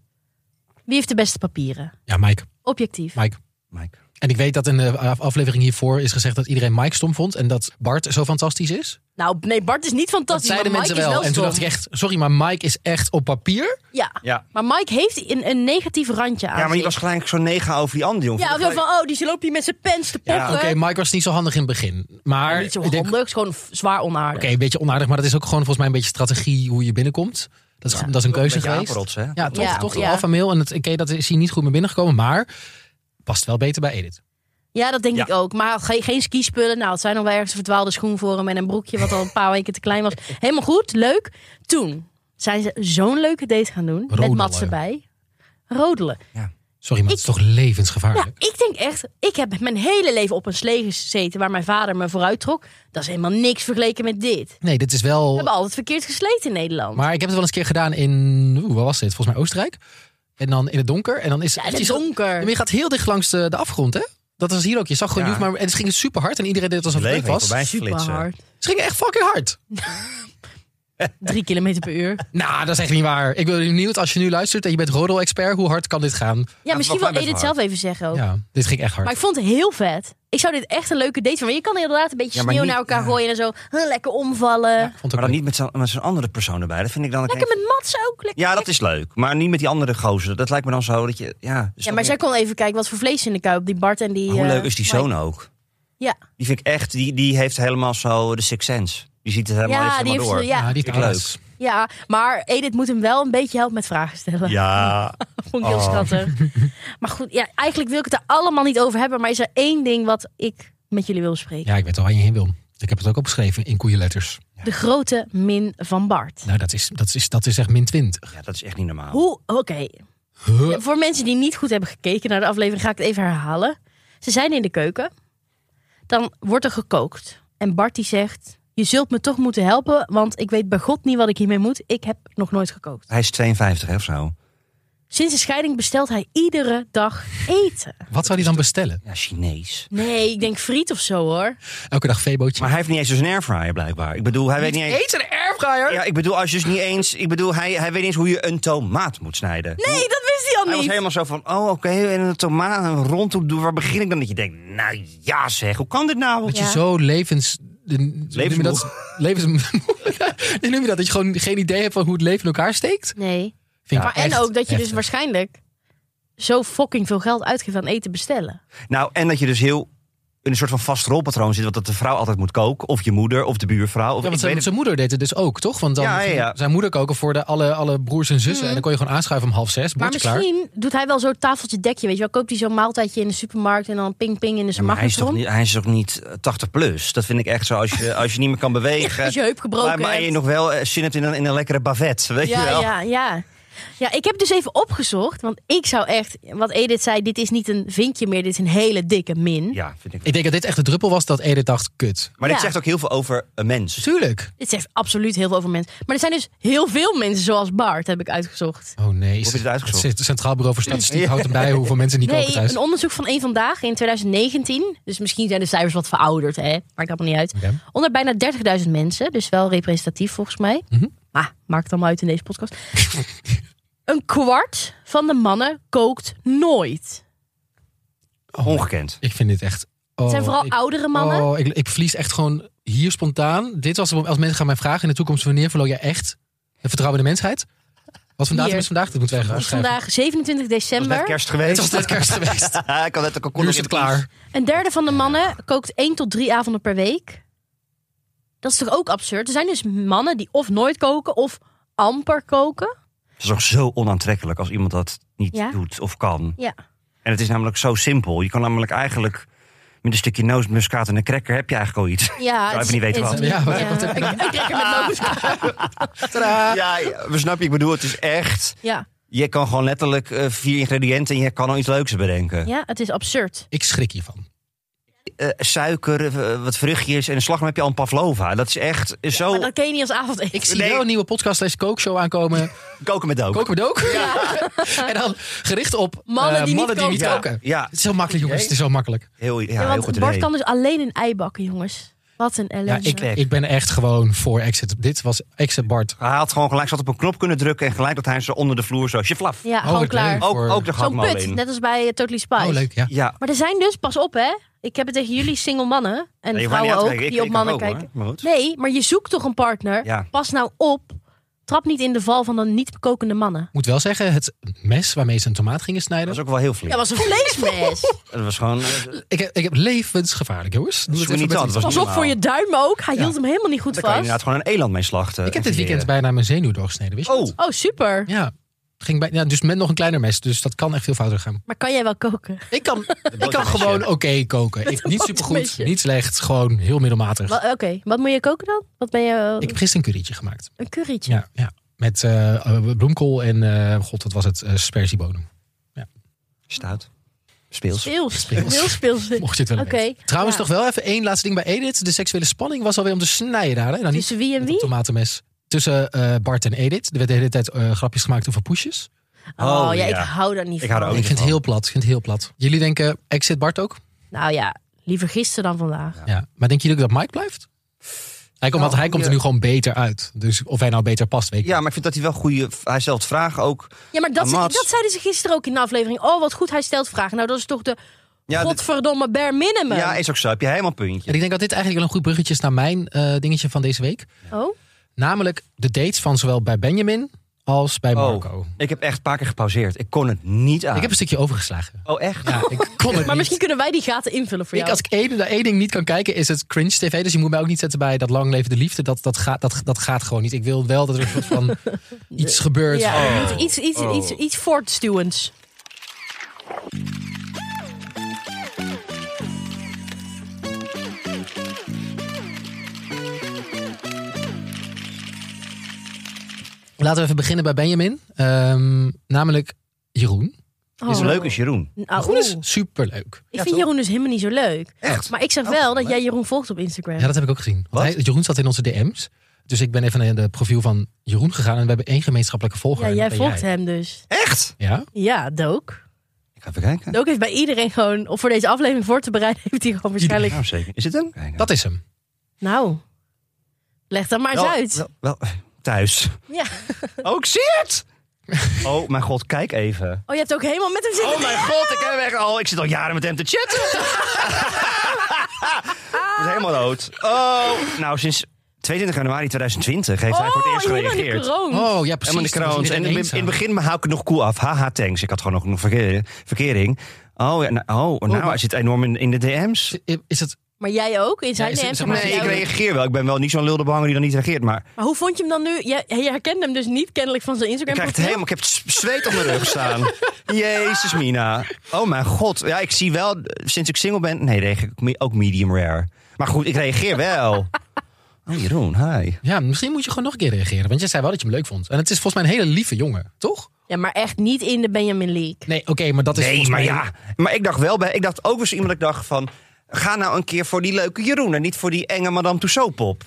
Speaker 2: Wie heeft de beste papieren?
Speaker 1: Ja, Mike.
Speaker 2: Objectief.
Speaker 1: Mike.
Speaker 3: Mike.
Speaker 1: En ik weet dat in de af- aflevering hiervoor is gezegd dat iedereen Mike stom vond. En dat Bart zo fantastisch is.
Speaker 2: Nou, nee, Bart is niet
Speaker 1: Dat
Speaker 2: fantastisch, maar
Speaker 1: zeiden
Speaker 2: Mike
Speaker 1: mensen
Speaker 2: is wel
Speaker 1: wel. En toen
Speaker 2: stom.
Speaker 1: dacht ik echt, sorry, maar Mike is echt op papier.
Speaker 2: Ja.
Speaker 3: Ja.
Speaker 2: Maar Mike heeft een, een negatief randje aan
Speaker 3: Ja, maar die
Speaker 2: zich.
Speaker 3: was gelijk zo'n negen over die andere jongen.
Speaker 2: Ja, of zo van, oh, die loopt hier met zijn pens te poppen.
Speaker 3: Ja,
Speaker 1: Oké, Mike was niet zo handig in het begin. Maar
Speaker 2: niet zo
Speaker 1: ik denk,
Speaker 2: handig, is gewoon f- zwaar onaardig.
Speaker 1: Oké, een beetje onaardig, maar dat is ook gewoon volgens mij een beetje strategie hoe je binnenkomt. Dat is, dat is een keuze
Speaker 3: beetje
Speaker 1: geweest.
Speaker 3: aangerots, hè?
Speaker 1: Ja, toch,
Speaker 2: Ja,
Speaker 1: toch
Speaker 2: ja.
Speaker 1: de alpha mail. En het, oké, dat is hier niet goed mee binnengekomen, maar past wel beter bij Edith.
Speaker 2: Ja, dat denk
Speaker 3: Ja.
Speaker 2: ik ook. Maar geen, geen skispullen. Nou, het zijn dan wel ergens een verdwaalde schoen voor hem en een broekje wat al een paar weken te klein was. Helemaal goed, leuk. Toen zijn ze zo'n leuke date gaan doen met
Speaker 1: Rodelen.
Speaker 2: Mats erbij. Rodelen.
Speaker 1: Sorry, maar het is toch
Speaker 2: Ja,
Speaker 1: levensgevaarlijk.
Speaker 2: ik denk echt, ik heb mijn hele leven op een slee gezeten waar mijn vader me vooruit trok. Dat is helemaal niks vergeleken met dit.
Speaker 1: Nee, dit is
Speaker 2: We
Speaker 3: Oh.
Speaker 1: wel.
Speaker 2: hebben altijd verkeerd gesleten in Nederland.
Speaker 1: Maar ik heb het wel eens een keer gedaan in. Oeh, waar was dit? Volgens mij Oostenrijk. En dan in het donker. En dan is
Speaker 2: ja, in
Speaker 1: echt
Speaker 2: het
Speaker 1: iets- Ja,
Speaker 2: donker.
Speaker 1: maar je gaat heel dicht langs de, de afgrond, hè? Dat was hier ook. Je zag gewoon
Speaker 3: Ja.
Speaker 1: niet, maar en het ging super hard en iedereen deed het alsof het leuk
Speaker 3: Leven
Speaker 1: was.
Speaker 3: voorbij
Speaker 2: Super
Speaker 3: flitsen.
Speaker 2: hard.
Speaker 1: Ze gingen echt fucking hard.
Speaker 2: Drie kilometer per uur.
Speaker 1: Nou, dat is echt niet waar. Ik ben benieuwd als je nu luistert en je bent rodel-expert, hoe hard kan dit gaan?
Speaker 2: Ja, misschien
Speaker 3: wel
Speaker 2: wil
Speaker 3: best
Speaker 2: Edith
Speaker 3: hard.
Speaker 2: zelf even zeggen ook.
Speaker 1: Ja, dit ging echt hard.
Speaker 2: Maar ik vond het heel vet. Ik zou dit echt een leuke date vinden. Want je kan inderdaad een beetje
Speaker 3: Ja, maar
Speaker 2: sneeuw
Speaker 3: niet-
Speaker 2: naar elkaar
Speaker 3: ja.
Speaker 2: gooien en zo. huh, lekker omvallen.
Speaker 1: Vond ook
Speaker 3: Maar dan
Speaker 1: leuk.
Speaker 3: niet met zo'n met zo'n andere persoon erbij. Dat vind ik dan...
Speaker 2: Lekker met Mats ook. Lekker.
Speaker 3: Ja, dat is leuk. Maar niet met die andere gozer. Dat lijkt me dan zo dat je... Ja, is
Speaker 2: Ja,
Speaker 3: toch
Speaker 2: maar
Speaker 3: meer-
Speaker 2: zij kon even kijken wat voor vlees in de kuip. Die Bart en die...
Speaker 3: Hoe
Speaker 2: eh,
Speaker 3: leuk is die
Speaker 2: Mike.
Speaker 3: zoon ook?
Speaker 2: Ja.
Speaker 3: Die vind ik echt, die, die heeft helemaal zo de sixth sense. Die ziet het helemaal,
Speaker 2: Ja,
Speaker 3: heeft
Speaker 2: die
Speaker 3: helemaal
Speaker 2: heeft,
Speaker 3: door.
Speaker 1: Ja,
Speaker 2: ja,
Speaker 1: die
Speaker 3: Vind
Speaker 1: vind
Speaker 3: ik
Speaker 1: leuk.
Speaker 2: ja, maar Edith moet hem wel een beetje helpen met vragen stellen.
Speaker 3: Ja.
Speaker 2: Vond ik heel
Speaker 3: Oh.
Speaker 2: schattig. maar goed, ja, eigenlijk wil ik het er allemaal niet over hebben. Maar is er één ding wat ik met jullie wil spreken.
Speaker 1: Ja, ik weet al waar je heen wil. Ik heb het ook opgeschreven in koeienletters.
Speaker 2: De grote min van Bart.
Speaker 1: Nou, dat is, dat is, dat is echt min 20.
Speaker 3: Ja, dat is echt niet normaal.
Speaker 2: Hoe, oké,
Speaker 1: Huh?
Speaker 2: voor mensen die niet goed hebben gekeken naar de aflevering, ga ik het even herhalen. Ze zijn in de keuken. Dan wordt er gekookt. En Bart die zegt: Je zult me toch moeten helpen, want ik weet bij God niet wat ik hiermee moet. Ik heb nog nooit gekookt.
Speaker 3: Hij is 52 hè, of zo.
Speaker 2: Sinds de scheiding bestelt hij iedere dag eten.
Speaker 1: Wat zou die dan bestellen?
Speaker 3: Ja, Chinees.
Speaker 2: Nee, ik denk friet of zo hoor.
Speaker 1: Elke dag veebootje.
Speaker 3: Maar hij heeft niet eens dus een airfryer blijkbaar. Ik bedoel, hij weet niet eens...
Speaker 1: Eet een airfryer?
Speaker 3: Ja, ik bedoel, als je dus niet eens... Ik bedoel, hij, hij weet niet eens hoe je een tomaat moet snijden.
Speaker 2: Nee, dat wist hij
Speaker 3: Hij
Speaker 2: al
Speaker 3: was
Speaker 2: niet.
Speaker 3: helemaal zo van, oh oké, en een tomaat, een rond, hoe- waar begin ik dan? Dat je denkt, nou ja zeg, hoe kan dit nou?
Speaker 1: Dat je
Speaker 2: Ja.
Speaker 1: zo levens... de- noem je dat? Levens... Nee, noem je dat? Dat je gewoon geen idee hebt van hoe het leven in elkaar steekt?
Speaker 2: Nee.
Speaker 1: Vind ik
Speaker 2: Maar en
Speaker 1: echt
Speaker 2: ook dat je dus
Speaker 1: heftig.
Speaker 2: waarschijnlijk zo fucking veel geld uitgeeft aan eten bestellen.
Speaker 3: Nou, en dat je dus heel in een soort van vast rolpatroon zit, want dat de vrouw altijd moet koken, of je moeder, of de buurvrouw. Of,
Speaker 1: Ja,
Speaker 3: ik
Speaker 1: want
Speaker 3: weet
Speaker 1: zijn,
Speaker 3: het-
Speaker 1: zijn moeder deed het dus ook, toch? Want dan
Speaker 3: Ja, ja,
Speaker 1: ging
Speaker 3: ja.
Speaker 1: zijn moeder koken voor de, alle, alle broers en zussen. En dan kon je gewoon aanschuiven om half zes.
Speaker 2: Mhm. Maar
Speaker 1: Bordje klaar.
Speaker 2: misschien doet hij wel zo'n tafeltje dekje. Weet je wel, koopt hij zo'n maaltijdje in de supermarkt en dan ping ping in de
Speaker 3: Ja, maar hij is, toch
Speaker 2: magnetron.
Speaker 3: niet, hij is toch niet eh, 80 plus? Dat vind ik echt zo, als je, als je niet meer kan bewegen.
Speaker 2: Als je heup gebroken
Speaker 3: maar, maar je
Speaker 2: hebt.
Speaker 3: nog wel eh, zin hebt in een, in een lekkere bavette, weet je
Speaker 2: Ja,
Speaker 3: wel?
Speaker 2: ja, ja. Ja, ik heb dus even opgezocht. Want ik zou echt, wat Edith zei, dit is niet een vinkje meer. Dit is een hele dikke min.
Speaker 3: Ja, vind ik.
Speaker 1: Ik denk dat dit echt de druppel was dat Edith dacht, kut.
Speaker 3: Maar dit
Speaker 2: Ja.
Speaker 3: zegt ook heel veel over een mens.
Speaker 1: Tuurlijk.
Speaker 2: Dit zegt absoluut heel veel over mensen. Maar er zijn dus heel veel mensen zoals Bart, heb ik uitgezocht.
Speaker 1: Oh nee.
Speaker 3: je dit uitgezocht?
Speaker 1: Het Centraal Bureau voor Statistiek houdt erbij hoeveel mensen niet koken
Speaker 2: Nee,
Speaker 1: thuis.
Speaker 2: een onderzoek van één vandaag in 2019. Dus misschien zijn de cijfers wat verouderd, hè? Maakt allemaal niet uit.
Speaker 1: Oké.
Speaker 2: Onder bijna 30.000 mensen, dus wel representatief volgens mij.
Speaker 1: Mhm.
Speaker 2: Maar maakt allemaal uit in deze podcast. een kwart van de mannen kookt nooit.
Speaker 3: Ongekend.
Speaker 1: Ik vind dit echt... Oh,
Speaker 2: Het zijn vooral
Speaker 1: ik,
Speaker 2: oudere mannen.
Speaker 1: Oh, ik, ik verlies echt gewoon hier spontaan. Dit was het moment- als mensen gaan mij vragen in de toekomst... wanneer verloor jij echt het vertrouwen in de mensheid? Wat vandaag
Speaker 2: Hier.
Speaker 1: is vandaag? Dat moeten wij
Speaker 2: Het
Speaker 1: gaan
Speaker 2: is vandaag 27
Speaker 3: Het was net
Speaker 2: december.
Speaker 3: kerst
Speaker 1: Het was
Speaker 3: geweest.
Speaker 1: net kerst geweest.
Speaker 3: ik had net ook al
Speaker 1: Nu is het klaar.
Speaker 2: Een derde van de mannen kookt één tot drie avonden per week. Dat is toch ook absurd? Er zijn dus mannen die of nooit koken of amper koken.
Speaker 3: Het is toch zo onaantrekkelijk als iemand dat niet
Speaker 2: Ja.
Speaker 3: doet of kan.
Speaker 2: Ja.
Speaker 3: En het is namelijk zo simpel. Je kan namelijk eigenlijk met een stukje nootmuskaat en een cracker heb je eigenlijk al iets.
Speaker 2: Ja,
Speaker 3: even
Speaker 2: het is-
Speaker 3: niet weten
Speaker 2: het is
Speaker 1: wat. Ja, wat-
Speaker 2: ja.
Speaker 1: wat-
Speaker 2: Ik, ik trek er met nootmuskaat.
Speaker 3: Ja, we snap je. Ik bedoel, het is echt...
Speaker 2: Ja.
Speaker 3: Je kan gewoon letterlijk eh, vier ingrediënten en je kan al iets leuks bedenken.
Speaker 2: ja, het is absurd.
Speaker 1: Ik schrik hiervan.
Speaker 3: Eh, suiker, eh, wat vruchtjes en een slagroom heb je al een pavlova. Dat is echt zo...
Speaker 2: Maar dat ken je niet als avondeten.
Speaker 1: Oh. Ik zie
Speaker 3: Nee.
Speaker 1: wel een nieuwe podcast slash kookshow aankomen.
Speaker 3: Koken met dook.
Speaker 1: Koken we ook? en dan gericht op
Speaker 2: Mannen
Speaker 1: eh,
Speaker 2: die niet
Speaker 1: mannen die
Speaker 2: koken.
Speaker 1: niet
Speaker 3: ja,
Speaker 1: koken.
Speaker 3: ja,
Speaker 1: Het is heel makkelijk, jongens. Het is heel makkelijk.
Speaker 3: heel, ja,
Speaker 2: Ja,
Speaker 3: heel
Speaker 2: want
Speaker 3: goed
Speaker 2: Bart
Speaker 3: idee.
Speaker 2: kan dus alleen een ei bakken, jongens. Wat een
Speaker 1: Ja,
Speaker 2: ellende.
Speaker 1: ik,
Speaker 3: Perfect.
Speaker 1: ik ben echt gewoon voor Exit. Dit was Exit Bart.
Speaker 3: Hij had gewoon gelijk, ze had op een knop kunnen drukken en gelijk dat hij ze onder de vloer zo... Sjeflaf.
Speaker 2: Ja,
Speaker 1: wat
Speaker 2: gewoon klaar.
Speaker 1: leuk.
Speaker 3: Ook,
Speaker 1: Voor-
Speaker 3: ook de
Speaker 2: Zo'n
Speaker 3: gangmal
Speaker 2: put,
Speaker 3: in.
Speaker 2: net als bij eh, Totally Spice.
Speaker 1: Oh, leuk. Ja.
Speaker 3: Ja,
Speaker 2: Maar er zijn dus, pas op hè. Ik heb het tegen jullie single mannen en
Speaker 3: Nee, je hoeft mij
Speaker 2: vrouwen ook,
Speaker 3: niet aan te kijken. Ik-
Speaker 2: die op
Speaker 3: ik kan
Speaker 2: mannen
Speaker 3: ook, hoor.
Speaker 2: kijken.
Speaker 3: Maar goed.
Speaker 2: Nee, maar je zoekt toch een partner?
Speaker 3: Ja.
Speaker 2: Pas nou op. Trap niet in de val van de niet kokende mannen.
Speaker 1: Moet wel zeggen, het mes waarmee ze een tomaat gingen
Speaker 3: Dat
Speaker 1: snijden.
Speaker 3: was ook wel heel flink.
Speaker 2: Ja, was een vleesmes.
Speaker 3: Dat was gewoon... eh,
Speaker 1: Ik heb, ik heb levensgevaarlijk, jongens. Doe
Speaker 3: Doe
Speaker 1: het
Speaker 3: niet
Speaker 1: even met
Speaker 3: aan,
Speaker 1: een-
Speaker 3: het was
Speaker 2: Pas op voor je duim ook. Hij
Speaker 1: Ja.
Speaker 2: hield hem helemaal niet goed
Speaker 3: Daar kan je
Speaker 2: vast.
Speaker 3: inderdaad gewoon een eland mee slachten.
Speaker 1: Ik heb
Speaker 3: en
Speaker 1: dit weekend
Speaker 3: verweren.
Speaker 1: bijna mijn zenuw doorgesneden, wist je dat?
Speaker 3: Oh,
Speaker 2: Oh, super.
Speaker 1: Ja. Ging bij, ja, dus met nog een kleiner mes, dus dat kan echt veel fouter gaan.
Speaker 2: Maar kan jij wel koken?
Speaker 1: Ik kan, ik kan
Speaker 3: botermesje.
Speaker 1: gewoon oké koken.
Speaker 2: Met
Speaker 1: Ik,
Speaker 2: een
Speaker 1: niet supergoed,
Speaker 2: botermesje.
Speaker 1: niet slecht, gewoon heel middelmatig.
Speaker 2: Wa- Oké, wat moet je koken dan? Wat ben je? eh,
Speaker 1: Ik heb gisteren een currytje gemaakt.
Speaker 2: Een currytje.
Speaker 1: Ja, ja. met eh, eh, bloemkool en, eh, god, wat was het? eh sperziebodem.
Speaker 3: stout. Speels.
Speaker 2: Speels.
Speaker 1: Speels.
Speaker 2: Heel speels.
Speaker 1: Mocht je het wel
Speaker 2: Oké,
Speaker 1: weten. Trouwens,
Speaker 2: ja.
Speaker 1: nog wel even één laatste ding bij Edith. De seksuele spanning was alweer om te snijden. Hè? Nou, niet
Speaker 2: Tussen wie en
Speaker 1: met een
Speaker 2: wie?
Speaker 1: tomatenmes. Tussen eh, Bart en Edith. Er werd de hele tijd eh, grapjes gemaakt over poesjes.
Speaker 2: Oh,
Speaker 3: Oh,
Speaker 2: ja, ik
Speaker 3: ja.
Speaker 2: hou daar niet van.
Speaker 3: Ik hou er ook
Speaker 1: ik
Speaker 3: niet
Speaker 1: vind het
Speaker 3: van.
Speaker 1: heel plat. Ik vind het heel plat. Jullie denken, exit Bart ook?
Speaker 2: Nou ja, liever gisteren dan vandaag.
Speaker 1: Ja. Maar denken jullie ook dat Mike blijft? Hij komt, want
Speaker 3: Nou,
Speaker 1: hij komt er
Speaker 3: ja.
Speaker 1: nu gewoon beter uit. Dus of hij nou beter past, weet ik
Speaker 3: Ja, maar ik vind dat hij wel goede... Hij stelt vragen ook.
Speaker 2: Ja, maar dat,
Speaker 3: Hamas.
Speaker 2: dat zeiden ze gisteren ook in de aflevering. Oh, wat goed, hij stelt vragen. Nou, dat is toch de
Speaker 3: Ja, dit-
Speaker 2: godverdomme bare minimum.
Speaker 3: ja, is ook zo. Heb je helemaal een puntje.
Speaker 1: En ik denk dat dit eigenlijk wel een goed bruggetje is naar mijn eh, dingetje van deze week.
Speaker 2: Oh,
Speaker 1: Namelijk de dates van zowel bij Benjamin als bij Marco.
Speaker 3: Oh, ik heb echt een paar keer gepauzeerd. Ik kon het niet aan.
Speaker 1: Ik heb een stukje overgeslagen.
Speaker 3: Oh, echt?
Speaker 1: Ja, ik kon het
Speaker 2: maar
Speaker 1: niet.
Speaker 2: misschien kunnen wij die gaten invullen voor
Speaker 1: Ik,
Speaker 2: jou.
Speaker 1: als ik één, naar één ding niet kan kijken, is het cringe tv. Dus je moet mij ook niet zetten bij dat lang leven de liefde. Dat, dat, gaat, dat, dat gaat gewoon niet. Ik wil wel dat er een soort van iets gebeurt.
Speaker 2: Ja,
Speaker 1: Oh.
Speaker 2: we moeten iets, iets, iets, iets voortstuwends.
Speaker 1: Laten we even beginnen bij Benjamin. Ehm, namelijk Jeroen.
Speaker 3: Is
Speaker 2: Oh.
Speaker 3: leuk is Jeroen.
Speaker 2: Nou,
Speaker 1: Jeroen is
Speaker 2: oeh.
Speaker 1: superleuk.
Speaker 2: Ik
Speaker 3: Ja,
Speaker 2: vind
Speaker 3: toch?
Speaker 2: Jeroen dus helemaal niet zo leuk.
Speaker 3: Echt?
Speaker 2: Maar ik zag
Speaker 3: Oh,
Speaker 2: wel dat
Speaker 3: leuk.
Speaker 2: jij Jeroen volgt op Instagram.
Speaker 1: Ja, dat heb ik ook gezien.
Speaker 3: Wat?
Speaker 1: Want hij, Jeroen zat in onze DM's. Dus ik ben even naar de profiel van Jeroen gegaan. En we hebben één gemeenschappelijke volger. en
Speaker 2: Ja,
Speaker 1: dat
Speaker 2: jij
Speaker 1: ben
Speaker 2: volgt hem dus.
Speaker 3: Echt?
Speaker 1: Ja?
Speaker 2: Ja, Dook.
Speaker 3: Ik ga even kijken.
Speaker 2: Dook heeft bij iedereen gewoon, of voor deze aflevering voor te bereiden, heeft hij gewoon waarschijnlijk.
Speaker 3: Nou, zeker. Is het hem? Kijken.
Speaker 1: Dat is hem.
Speaker 2: Nou, leg dat maar eens
Speaker 3: Wel-
Speaker 2: uit.
Speaker 3: Wel, wel- eh, thuis.
Speaker 2: Ja.
Speaker 3: Oh, ik zie het! Oh, mijn god, kijk even.
Speaker 2: Oh, je hebt ook helemaal met hem zitten.
Speaker 3: Oh mijn god, ik heb echt al. Ik zit al jaren met hem te chatten. Ah. Het is helemaal rood. Oh, nou, sinds 22 januari 2020 heeft hij voor het eerst
Speaker 2: Oh, helemaal in de
Speaker 3: gereageerd.
Speaker 2: kroon.
Speaker 1: Oh, ja, precies.
Speaker 3: Helemaal in de
Speaker 1: Dan was
Speaker 3: kroons. En
Speaker 1: iedereen
Speaker 3: in, in
Speaker 1: eenzaam.
Speaker 3: het begin hou ik het nog cool af. Haha, thanks. Ik had gewoon nog een verkeer- verkering. Oh, ja, nou, oh, nou
Speaker 1: maar-
Speaker 3: hij zit enorm in, in de DM's.
Speaker 1: Is het...
Speaker 2: Maar jij ook? In zijn
Speaker 1: Ja, is-
Speaker 2: DM's?
Speaker 1: zeg maar-
Speaker 2: maar,
Speaker 3: Nee, ik
Speaker 2: jij ook.
Speaker 3: reageer wel. Ik ben wel niet zo'n luldebehanger die dan niet reageert. Maar
Speaker 2: maar hoe vond je hem dan nu? Jij, jij herkende hem dus niet kennelijk van zijn
Speaker 3: Ik
Speaker 2: Instagram
Speaker 3: krijg het
Speaker 2: profiel?
Speaker 3: helemaal. Ik heb het z- zweet op mijn rug staan. Jezus, Mina. Oh mijn god. Ja, ik zie wel, eh, sinds ik single ben... Nee, reageer ik me- ook medium rare. Maar goed, ik reageer wel. Oh, Jeroen, hi.
Speaker 1: Ja, misschien moet je gewoon nog een keer reageren. Want jij zei wel dat je hem leuk vond. En het is volgens mij een hele lieve jongen, toch?
Speaker 2: Ja, maar echt niet in de Benjamin League.
Speaker 1: Nee, oké, maar dat is
Speaker 3: Nee,
Speaker 1: volgens
Speaker 3: maar
Speaker 1: mij...
Speaker 3: ja. Maar ik dacht wel bij... Ik dacht ook weer zo iemand, ik dacht van... Ga nou een keer voor die leuke Jeroen en niet voor die enge Madame Tussauds pop.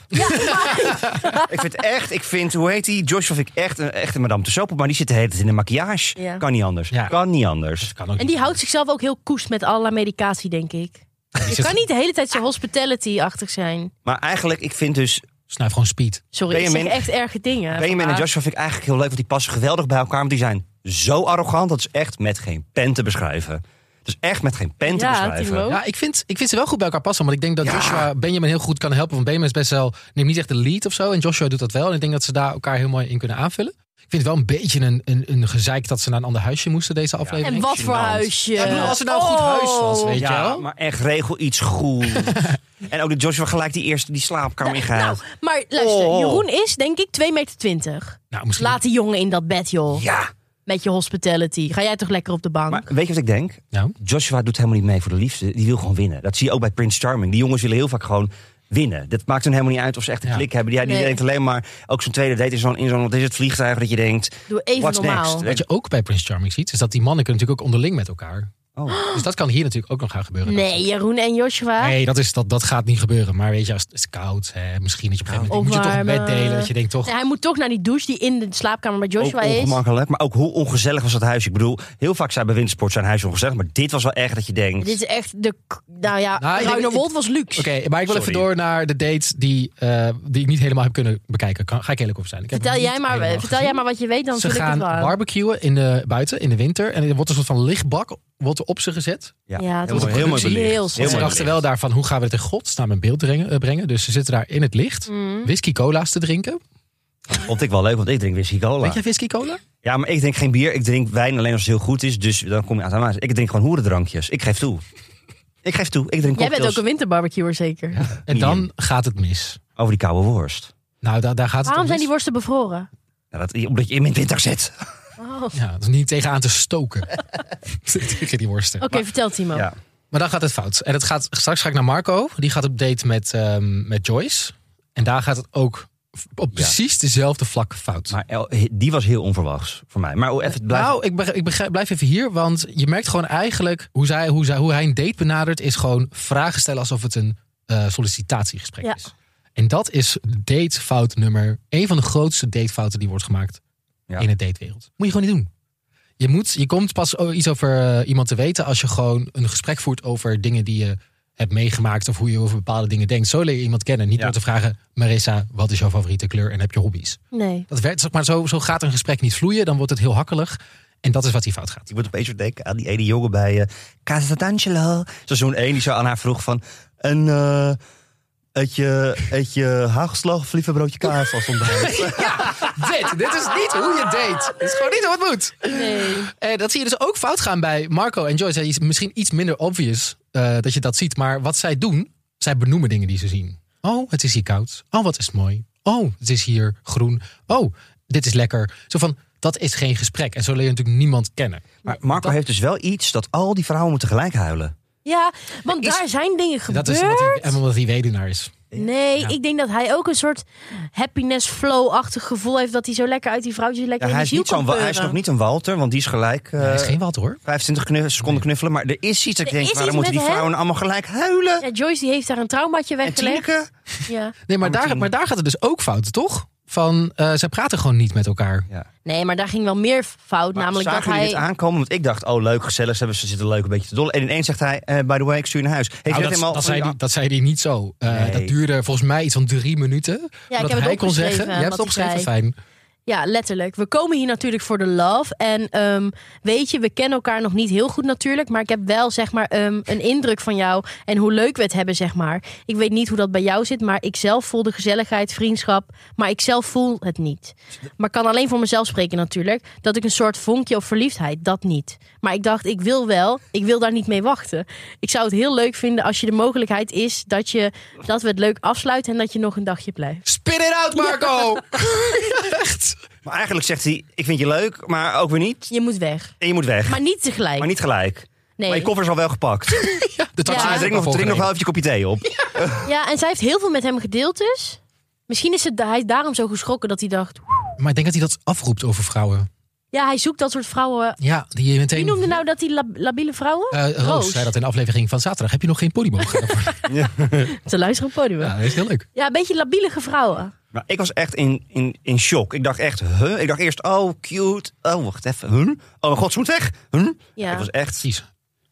Speaker 3: ik vind echt, ik vind, hoe heet die? Josh vind ik echt een echte Madame Tussauds pop, maar die zit de hele tijd in de maquillage.
Speaker 2: Ja.
Speaker 3: Kan niet anders.
Speaker 1: Ja.
Speaker 3: Kan niet anders.
Speaker 1: Kan ook
Speaker 2: En die houdt zichzelf ook heel koest met alle medicatie, denk ik. Je
Speaker 1: zit-
Speaker 2: kan niet de hele tijd zo hospitality-achtig zijn.
Speaker 3: Maar eigenlijk, ik vind dus
Speaker 1: Snuif gewoon speed.
Speaker 2: Sorry, ik zeg
Speaker 3: Benjamin-
Speaker 2: echt erge dingen.
Speaker 3: Benjamin en
Speaker 2: vandaag.
Speaker 3: Joshua vind ik eigenlijk heel leuk, want die passen geweldig bij elkaar. Want die zijn zo arrogant, dat is echt met geen pen te beschrijven. Dat is echt met geen pen te
Speaker 2: Ja,
Speaker 3: beschrijven.
Speaker 2: Timo. Oh.
Speaker 1: Ja, ik vind, ik vind ze wel goed bij elkaar passen. Want ik denk dat
Speaker 3: Ja.
Speaker 1: Joshua Benjamin heel goed kan helpen. Want Benjamin is best wel, neemt niet echt de lead of zo. En Joshua doet dat wel. En ik denk dat ze daar elkaar heel mooi in kunnen aanvullen. Ik vind het wel een beetje een, een, een gezeik dat ze naar een ander huisje moesten deze aflevering.
Speaker 2: En wat voor
Speaker 3: Gênant.
Speaker 2: huisje. Oh,
Speaker 1: Ja, ik bedoel, als er nou een goed huis was, weet je
Speaker 3: Ja,
Speaker 1: wel.
Speaker 3: maar echt regel iets goed. en ook dat Joshua gelijk die eerste die slaapkamer
Speaker 2: Nou,
Speaker 3: ingaat.
Speaker 2: maar luister,
Speaker 3: Oh.
Speaker 2: Jeroen is denk ik 2,20 meter.
Speaker 1: Nou, misschien...
Speaker 2: Laat die jongen in dat bed, joh.
Speaker 3: Ja,
Speaker 2: Met je hospitality. Ga jij toch lekker op de bank?
Speaker 3: maar weet je wat ik denk?
Speaker 1: Nou,
Speaker 3: Joshua doet helemaal niet mee voor de liefde. Die wil gewoon winnen. Dat zie je ook bij Prince Charming. Die jongens willen heel vaak gewoon winnen. Dat maakt hun helemaal niet uit of ze echt een
Speaker 1: Ja.
Speaker 3: klik hebben. Die, die
Speaker 2: Nee.
Speaker 3: denkt alleen maar, ook zo'n tweede date in zo'n, in zo'n wat is het vliegtuig dat je denkt,
Speaker 2: Doe even
Speaker 3: what's
Speaker 2: normaal.
Speaker 3: next?
Speaker 1: wat je ook bij Prince Charming ziet, is dat die mannen kunnen natuurlijk ook onderling met elkaar.
Speaker 3: Oh.
Speaker 1: Dus dat kan hier natuurlijk ook nog gaan gebeuren.
Speaker 2: Nee, Jeroen en Joshua.
Speaker 1: Nee, dat, is, dat, dat gaat niet gebeuren. Maar weet je, als het is koud, hè, misschien dat je op een gegeven moment... moet je toch een bed
Speaker 2: Opwarmen.
Speaker 1: delen, dat je denkt toch... Oh,
Speaker 2: Nee, eh, hij moet toch naar die douche die in de slaapkamer bij Joshua
Speaker 3: ook
Speaker 2: is.
Speaker 3: ongemakkelijk, maar ook hoe ongezellig was dat huis. Ik bedoel, heel vaak zijn bij wintersport zijn huizen ongezellig, maar dit was wel echt dat je denkt...
Speaker 2: Dit is echt de... k- Nou ja,
Speaker 1: Nou, ik denk-
Speaker 2: Ruiner
Speaker 1: ik-
Speaker 2: Wold was luxe.
Speaker 1: Oké, maar ik wil even
Speaker 3: Sorry.
Speaker 1: door naar de dates die, eh, die ik niet helemaal heb kunnen bekijken. Kan, ga ik eerlijk over zijn. Ik heb
Speaker 2: Vertel,
Speaker 1: hem niet
Speaker 2: jij maar, eh,
Speaker 1: helemaal
Speaker 2: vertel
Speaker 1: gezien.
Speaker 2: jij maar wat je weet, dan
Speaker 1: Ze
Speaker 2: vul ik
Speaker 1: gaan
Speaker 2: het wel aan.
Speaker 1: barbecuen in de, buiten in de winter. En er wordt een soort van lichtbak wordt er op ze gezet.
Speaker 2: Ja, het was
Speaker 1: een productie.
Speaker 3: belicht.
Speaker 2: Heel
Speaker 1: Want
Speaker 2: slim.
Speaker 1: ze
Speaker 2: mooi
Speaker 1: dachten wel daarvan, hoe gaan we het in godsnaam in beeld brengen, eh, brengen? Dus ze zitten daar in het licht.
Speaker 2: Mm.
Speaker 1: Whisky cola's te drinken.
Speaker 3: Vond ik wel leuk, want ik drink whisky cola.
Speaker 1: Weet jij whisky cola?
Speaker 3: Ja, maar ik drink geen bier, ik drink wijn alleen als het heel goed is. Dus dan kom je aan het aanwijzen. Ik drink gewoon hoerendrankjes. Ik geef toe. Ik geef toe. Ik drink
Speaker 2: Jij bent ook
Speaker 3: cocktails
Speaker 2: een winterbarbecuer zeker.
Speaker 1: En dan gaat het mis.
Speaker 3: over die koude worst.
Speaker 1: Nou, daar daar gaat het
Speaker 2: Waarom
Speaker 1: om
Speaker 2: zijn
Speaker 1: mis.
Speaker 2: die worsten bevroren?
Speaker 3: Nou, dat, omdat je in mijn winter zit.
Speaker 2: Oh.
Speaker 1: Ja, dat is niet tegenaan te stoken. Tegen die worsten.
Speaker 2: Oké, vertel Timo.
Speaker 3: Ja.
Speaker 1: Maar dan gaat het fout. En het gaat, straks ga ik naar Marco. Die gaat op date met, ehm, met Joyce. En daar gaat het ook f- op precies dezelfde vlak fout.
Speaker 3: Maar El- die was heel onverwachts voor mij. Maar even blijven.
Speaker 1: nou, ik, beg- ik begrijp- blijf even hier. Want je merkt gewoon eigenlijk hoe, zij, hoe, zij, hoe hij een date benadert... is gewoon vragen stellen alsof het een eh, sollicitatiegesprek
Speaker 2: Ja.
Speaker 1: is. En dat is datefout nummer... een van de grootste datefouten die wordt gemaakt
Speaker 3: Ja.
Speaker 1: in het datewereld. Moet je gewoon niet doen. Je, moet, je komt pas o- iets over eh, iemand te weten als je gewoon een gesprek voert over dingen die je hebt meegemaakt of hoe je over bepaalde dingen denkt. Zo leer je iemand kennen. Niet
Speaker 3: Ja.
Speaker 1: door te vragen, Marissa, wat is jouw favoriete kleur en heb je hobby's?
Speaker 2: Nee.
Speaker 1: Dat werkt, zeg maar, zo, zo gaat een gesprek niet vloeien, dan wordt het heel hakkelig. En dat is wat hier fout gaat.
Speaker 3: Ik moet opeens weer denken aan die ene jongen bij eh Casa d'Angelo. Seizoen 1, die zo aan haar vroeg van... En eh eet je, eet je hagelslag of liever broodje kaas als ontbijt?
Speaker 1: dit, dit is niet hoe je date. Dit is gewoon niet hoe het moet.
Speaker 2: nee.
Speaker 1: Eh, dat zie je dus ook fout gaan bij Marco en Joyce. Hij is misschien iets minder obvious eh, dat je dat ziet. Maar wat zij doen, zij benoemen dingen die ze zien. Oh, het is hier koud. Oh, wat is het mooi. Oh, het is hier groen. Oh, dit is lekker. Zo van, dat is geen gesprek. En zo leer je natuurlijk niemand kennen.
Speaker 3: maar Marco heeft dus wel iets dat al die vrouwen moeten gelijk huilen.
Speaker 2: Ja, want
Speaker 3: Is-
Speaker 2: daar zijn dingen
Speaker 1: Dat
Speaker 2: gebeurd.
Speaker 1: is omdat hij, en omdat hij weduwnaar is.
Speaker 2: Nee,
Speaker 1: Ja.
Speaker 2: ik denk dat hij ook een soort happiness flow-achtig gevoel heeft. Dat hij zo lekker uit die vrouwtjes lekker
Speaker 3: Ja,
Speaker 2: in
Speaker 3: hij,
Speaker 2: die
Speaker 3: is
Speaker 2: ziel
Speaker 3: niet zo'n,
Speaker 2: kan
Speaker 3: wa- hij is nog niet een Walter, want die is gelijk eh,
Speaker 1: Hij is geen wat hoor.
Speaker 3: 25 knu- seconden knuffelen. Maar er is iets dat ik
Speaker 2: Er
Speaker 3: denk,
Speaker 2: is
Speaker 3: waarom
Speaker 2: iets
Speaker 3: moeten die
Speaker 2: met hem.
Speaker 3: vrouwen alleuren allemaal gelijk huilen?
Speaker 2: Ja, Joyce die heeft daar een traumaatje
Speaker 3: en
Speaker 2: weggelegd.
Speaker 3: Tineke?
Speaker 2: Ja.
Speaker 1: Nee, maar
Speaker 3: Oh,
Speaker 1: daar,
Speaker 3: misschien-
Speaker 1: maar daar gaat het dus ook fout, toch? Van, eh ze praten gewoon niet met elkaar.
Speaker 2: Nee, maar daar ging wel meer fout.
Speaker 3: Maar
Speaker 2: namelijk dat
Speaker 3: zagen jullie
Speaker 2: hij.
Speaker 3: dit aankomen? Want ik dacht, oh leuk, gezellig, ze, hebben, ze zitten leuk een beetje te dollen. En ineens zegt hij, eh, by the way, ik stuur je naar huis. Heeft
Speaker 1: Nou,
Speaker 3: hij
Speaker 1: dat,
Speaker 3: helemaal
Speaker 1: dat,
Speaker 3: van
Speaker 1: zei
Speaker 3: die-
Speaker 1: die, dat zei die niet zo. Eh,
Speaker 3: Nee.
Speaker 1: Dat duurde volgens mij iets van drie minuten.
Speaker 2: Ja, ik
Speaker 1: dat
Speaker 2: heb het
Speaker 1: hij kon
Speaker 2: opgeschreven.
Speaker 1: zeggen, je hebt
Speaker 2: wat
Speaker 1: het
Speaker 2: hij
Speaker 1: opgeschreven,
Speaker 2: zei.
Speaker 1: fijn.
Speaker 2: Ja, letterlijk. We komen hier natuurlijk voor de love. En ehm, weet je, we kennen elkaar nog niet heel goed natuurlijk. Maar ik heb wel zeg maar ehm, een indruk van jou. En hoe leuk we het hebben, zeg maar. Ik weet niet hoe dat bij jou zit. Maar ik zelf voel de gezelligheid, vriendschap. Maar ik zelf voel het niet. Maar ik kan alleen voor mezelf spreken natuurlijk. Dat ik een soort vonkje of verliefdheid, dat niet. Maar ik dacht, ik wil wel. Ik wil daar niet mee wachten. Ik zou het heel leuk vinden als je de mogelijkheid is dat, je, dat we het leuk afsluiten. En dat je nog een dagje blijft.
Speaker 1: Spit it out, Marco! Echt.
Speaker 3: Maar eigenlijk zegt hij, ik vind je leuk, maar ook weer niet.
Speaker 2: Je moet weg.
Speaker 3: En je moet weg. Maar,
Speaker 2: Maar niet tegelijk.
Speaker 3: niet gelijk.
Speaker 2: Nee.
Speaker 3: Maar je koffer is al wel gepakt.
Speaker 1: De taxi is
Speaker 2: Ja.
Speaker 3: Ah,
Speaker 1: ook
Speaker 3: drink,
Speaker 1: al
Speaker 3: nog, drink nog
Speaker 1: volgereden.
Speaker 3: wel even je kopje thee op.
Speaker 2: Ja, en zij heeft heel veel met hem gedeeld dus. Misschien is het, hij is daarom zo geschrokken dat hij dacht...
Speaker 1: Maar ik denk dat hij dat afroept over vrouwen.
Speaker 2: Ja, hij zoekt dat soort vrouwen.
Speaker 1: Ja, die je meteen...
Speaker 2: Wie noemde nou dat die lab- labiele vrouwen?
Speaker 1: Eh, Roos,
Speaker 2: Roos.
Speaker 1: zei dat in de aflevering van zaterdag. Heb je nog geen ponyboog?
Speaker 2: Te luisteren op het podium.
Speaker 1: ja,
Speaker 2: Ja.
Speaker 1: dat is heel leuk.
Speaker 2: een beetje labielige vrouwen.
Speaker 3: Maar ik was echt in, in, in shock. Ik dacht echt, huh? Ik dacht eerst, oh, cute. Oh, wacht even, huh? Oh mijn god, ze moet weg. Huh? Ik
Speaker 2: Ja.
Speaker 3: was echt
Speaker 1: Precies.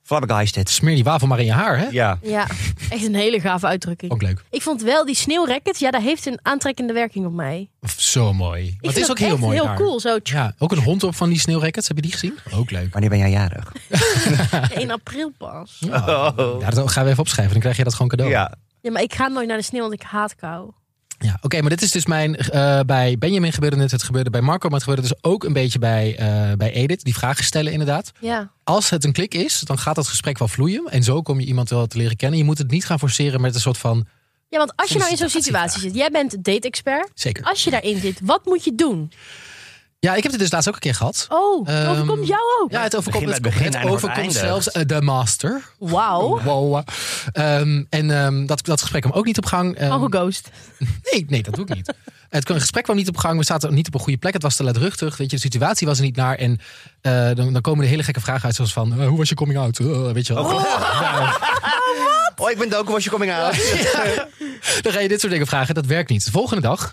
Speaker 3: flabbergasted.
Speaker 1: Smeer die wafel maar in je haar, hè?
Speaker 3: Ja.
Speaker 2: ja, echt een hele gave uitdrukking.
Speaker 1: Ook leuk.
Speaker 2: Ik vond wel die sneeuwrackets, ja, daar heeft een aantrekkende werking op mij. Ik
Speaker 1: Zo mooi. Maar
Speaker 2: vind
Speaker 1: het is
Speaker 2: dat
Speaker 1: ook heel
Speaker 2: echt
Speaker 1: mooi
Speaker 2: heel
Speaker 1: daar.
Speaker 2: cool, zo tjoe,
Speaker 1: Ja, ook een hond op van die sneeuwrackets. Heb je die gezien? Ook leuk.
Speaker 3: Wanneer ben jij jarig?
Speaker 2: 1 april pas.
Speaker 1: Ja, Ja, dat gaan we even opschrijven. Dan krijg je dat gewoon cadeau.
Speaker 3: Oh. Ja.
Speaker 2: Ja, maar ik ga nooit naar de sneeuw, want ik haat kou.
Speaker 1: Ja, Oké, maar dit is dus mijn... eh, bij Benjamin gebeurde het, het gebeurde bij Marco. Maar het gebeurde dus ook een beetje bij, eh, bij Edith. Die vragen stellen inderdaad.
Speaker 2: Ja,
Speaker 1: Als het een klik is, dan gaat dat gesprek wel vloeien. En zo kom je iemand wel te leren kennen. Je moet het niet gaan forceren met een soort van...
Speaker 2: ja want als je nou in zo'n
Speaker 1: Sollicitatievraag.
Speaker 2: situatie zit... Jij bent date-expert.
Speaker 1: Zeker.
Speaker 2: Als je daarin zit, wat moet je doen?
Speaker 1: Ja, ik heb dit dus laatst ook een keer gehad.
Speaker 2: Oh,
Speaker 1: Ehm,
Speaker 2: dat overkomt jou ook.
Speaker 1: Ja, het overkomt,
Speaker 3: Begin bij
Speaker 1: het,
Speaker 3: het begin,
Speaker 1: het
Speaker 3: eindig waar het
Speaker 1: overkomt
Speaker 3: eindigt.
Speaker 1: zelfs eh, de master.
Speaker 2: Wauw.
Speaker 1: Wow. Ehm, en ehm, dat, dat gesprek kwam ook niet op gang. Ehm,
Speaker 2: Oh, Ghost.
Speaker 1: nee, nee, dat doe ik niet. Het gesprek kwam niet op gang. We zaten niet op een goede plek. Het was te luidruchtig. Weet je, de situatie was er niet naar. En eh, dan, dan komen er hele gekke vragen uit. Zoals van, eh, hoe was je coming out? Eh, weet je wel. Nou, Ja.
Speaker 3: Oh, ik ben Doku, was je coming out?
Speaker 1: Dan ga je dit soort dingen vragen. Dat werkt niet. De volgende dag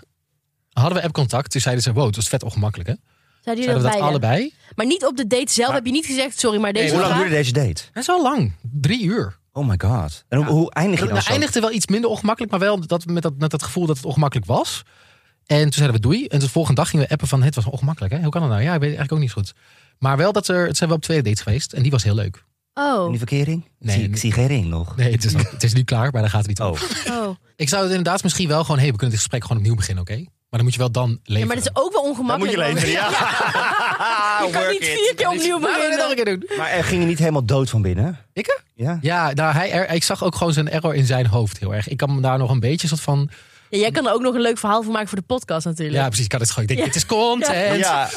Speaker 1: hadden we app-contact. Toen zeiden ze, wow, het was vet ongemakkelijk. Hè?
Speaker 2: Zijn jullie
Speaker 1: Zeiden we
Speaker 2: dat
Speaker 1: dat
Speaker 2: beide?
Speaker 1: allebei?
Speaker 2: Maar niet op de date zelf heb je niet gezegd, sorry, maar deze
Speaker 1: Nee,
Speaker 3: Hoe lang
Speaker 2: vraag-
Speaker 3: duurde deze date?
Speaker 1: Dat is wel lang. Drie uur.
Speaker 3: Oh my god. En hoe, hoe eindig je
Speaker 1: Het
Speaker 2: Nou,
Speaker 3: dan zo?
Speaker 1: nou, eindigde wel iets minder ongemakkelijk, maar wel dat, met, dat, met dat gevoel dat het ongemakkelijk was. En toen zeiden we doei. En de volgende dag gingen we appen van het was ongemakkelijk. Hè? Hoe kan dat nou? Ja, ik weet het eigenlijk ook niet goed. Maar wel dat er, het zijn wel op twee dates geweest. En die was heel leuk.
Speaker 3: In
Speaker 2: Oh,
Speaker 3: die verkering?
Speaker 1: Nee,
Speaker 3: Zie, ik
Speaker 1: nee.
Speaker 3: zie geen ring nog.
Speaker 1: Nee, het is, het is nu klaar, maar daar gaat het niet om.
Speaker 3: Oh,
Speaker 2: oh.
Speaker 1: Ik zou het inderdaad misschien wel gewoon, hey, we kunnen dit gesprek gewoon opnieuw beginnen, oké? Maar dan moet je wel dan leven.
Speaker 2: Ja, maar dat is ook wel ongemakkelijk.
Speaker 3: ja.
Speaker 2: want Je kan niet vier keer opnieuw beginnen.
Speaker 1: doen.
Speaker 3: Maar er ging je niet helemaal dood van binnen?
Speaker 1: Ik?
Speaker 3: Ja.
Speaker 1: Ja, nou, hij, er- ik zag ook gewoon zijn error in zijn hoofd heel erg. Ik kan me daar nog een beetje soort van.
Speaker 2: Ja, jij kan er ook nog een leuk verhaal van maken voor de podcast natuurlijk.
Speaker 1: Ja, precies. Ik kan het gewoon. Ik denk, dit is content.
Speaker 3: Ja.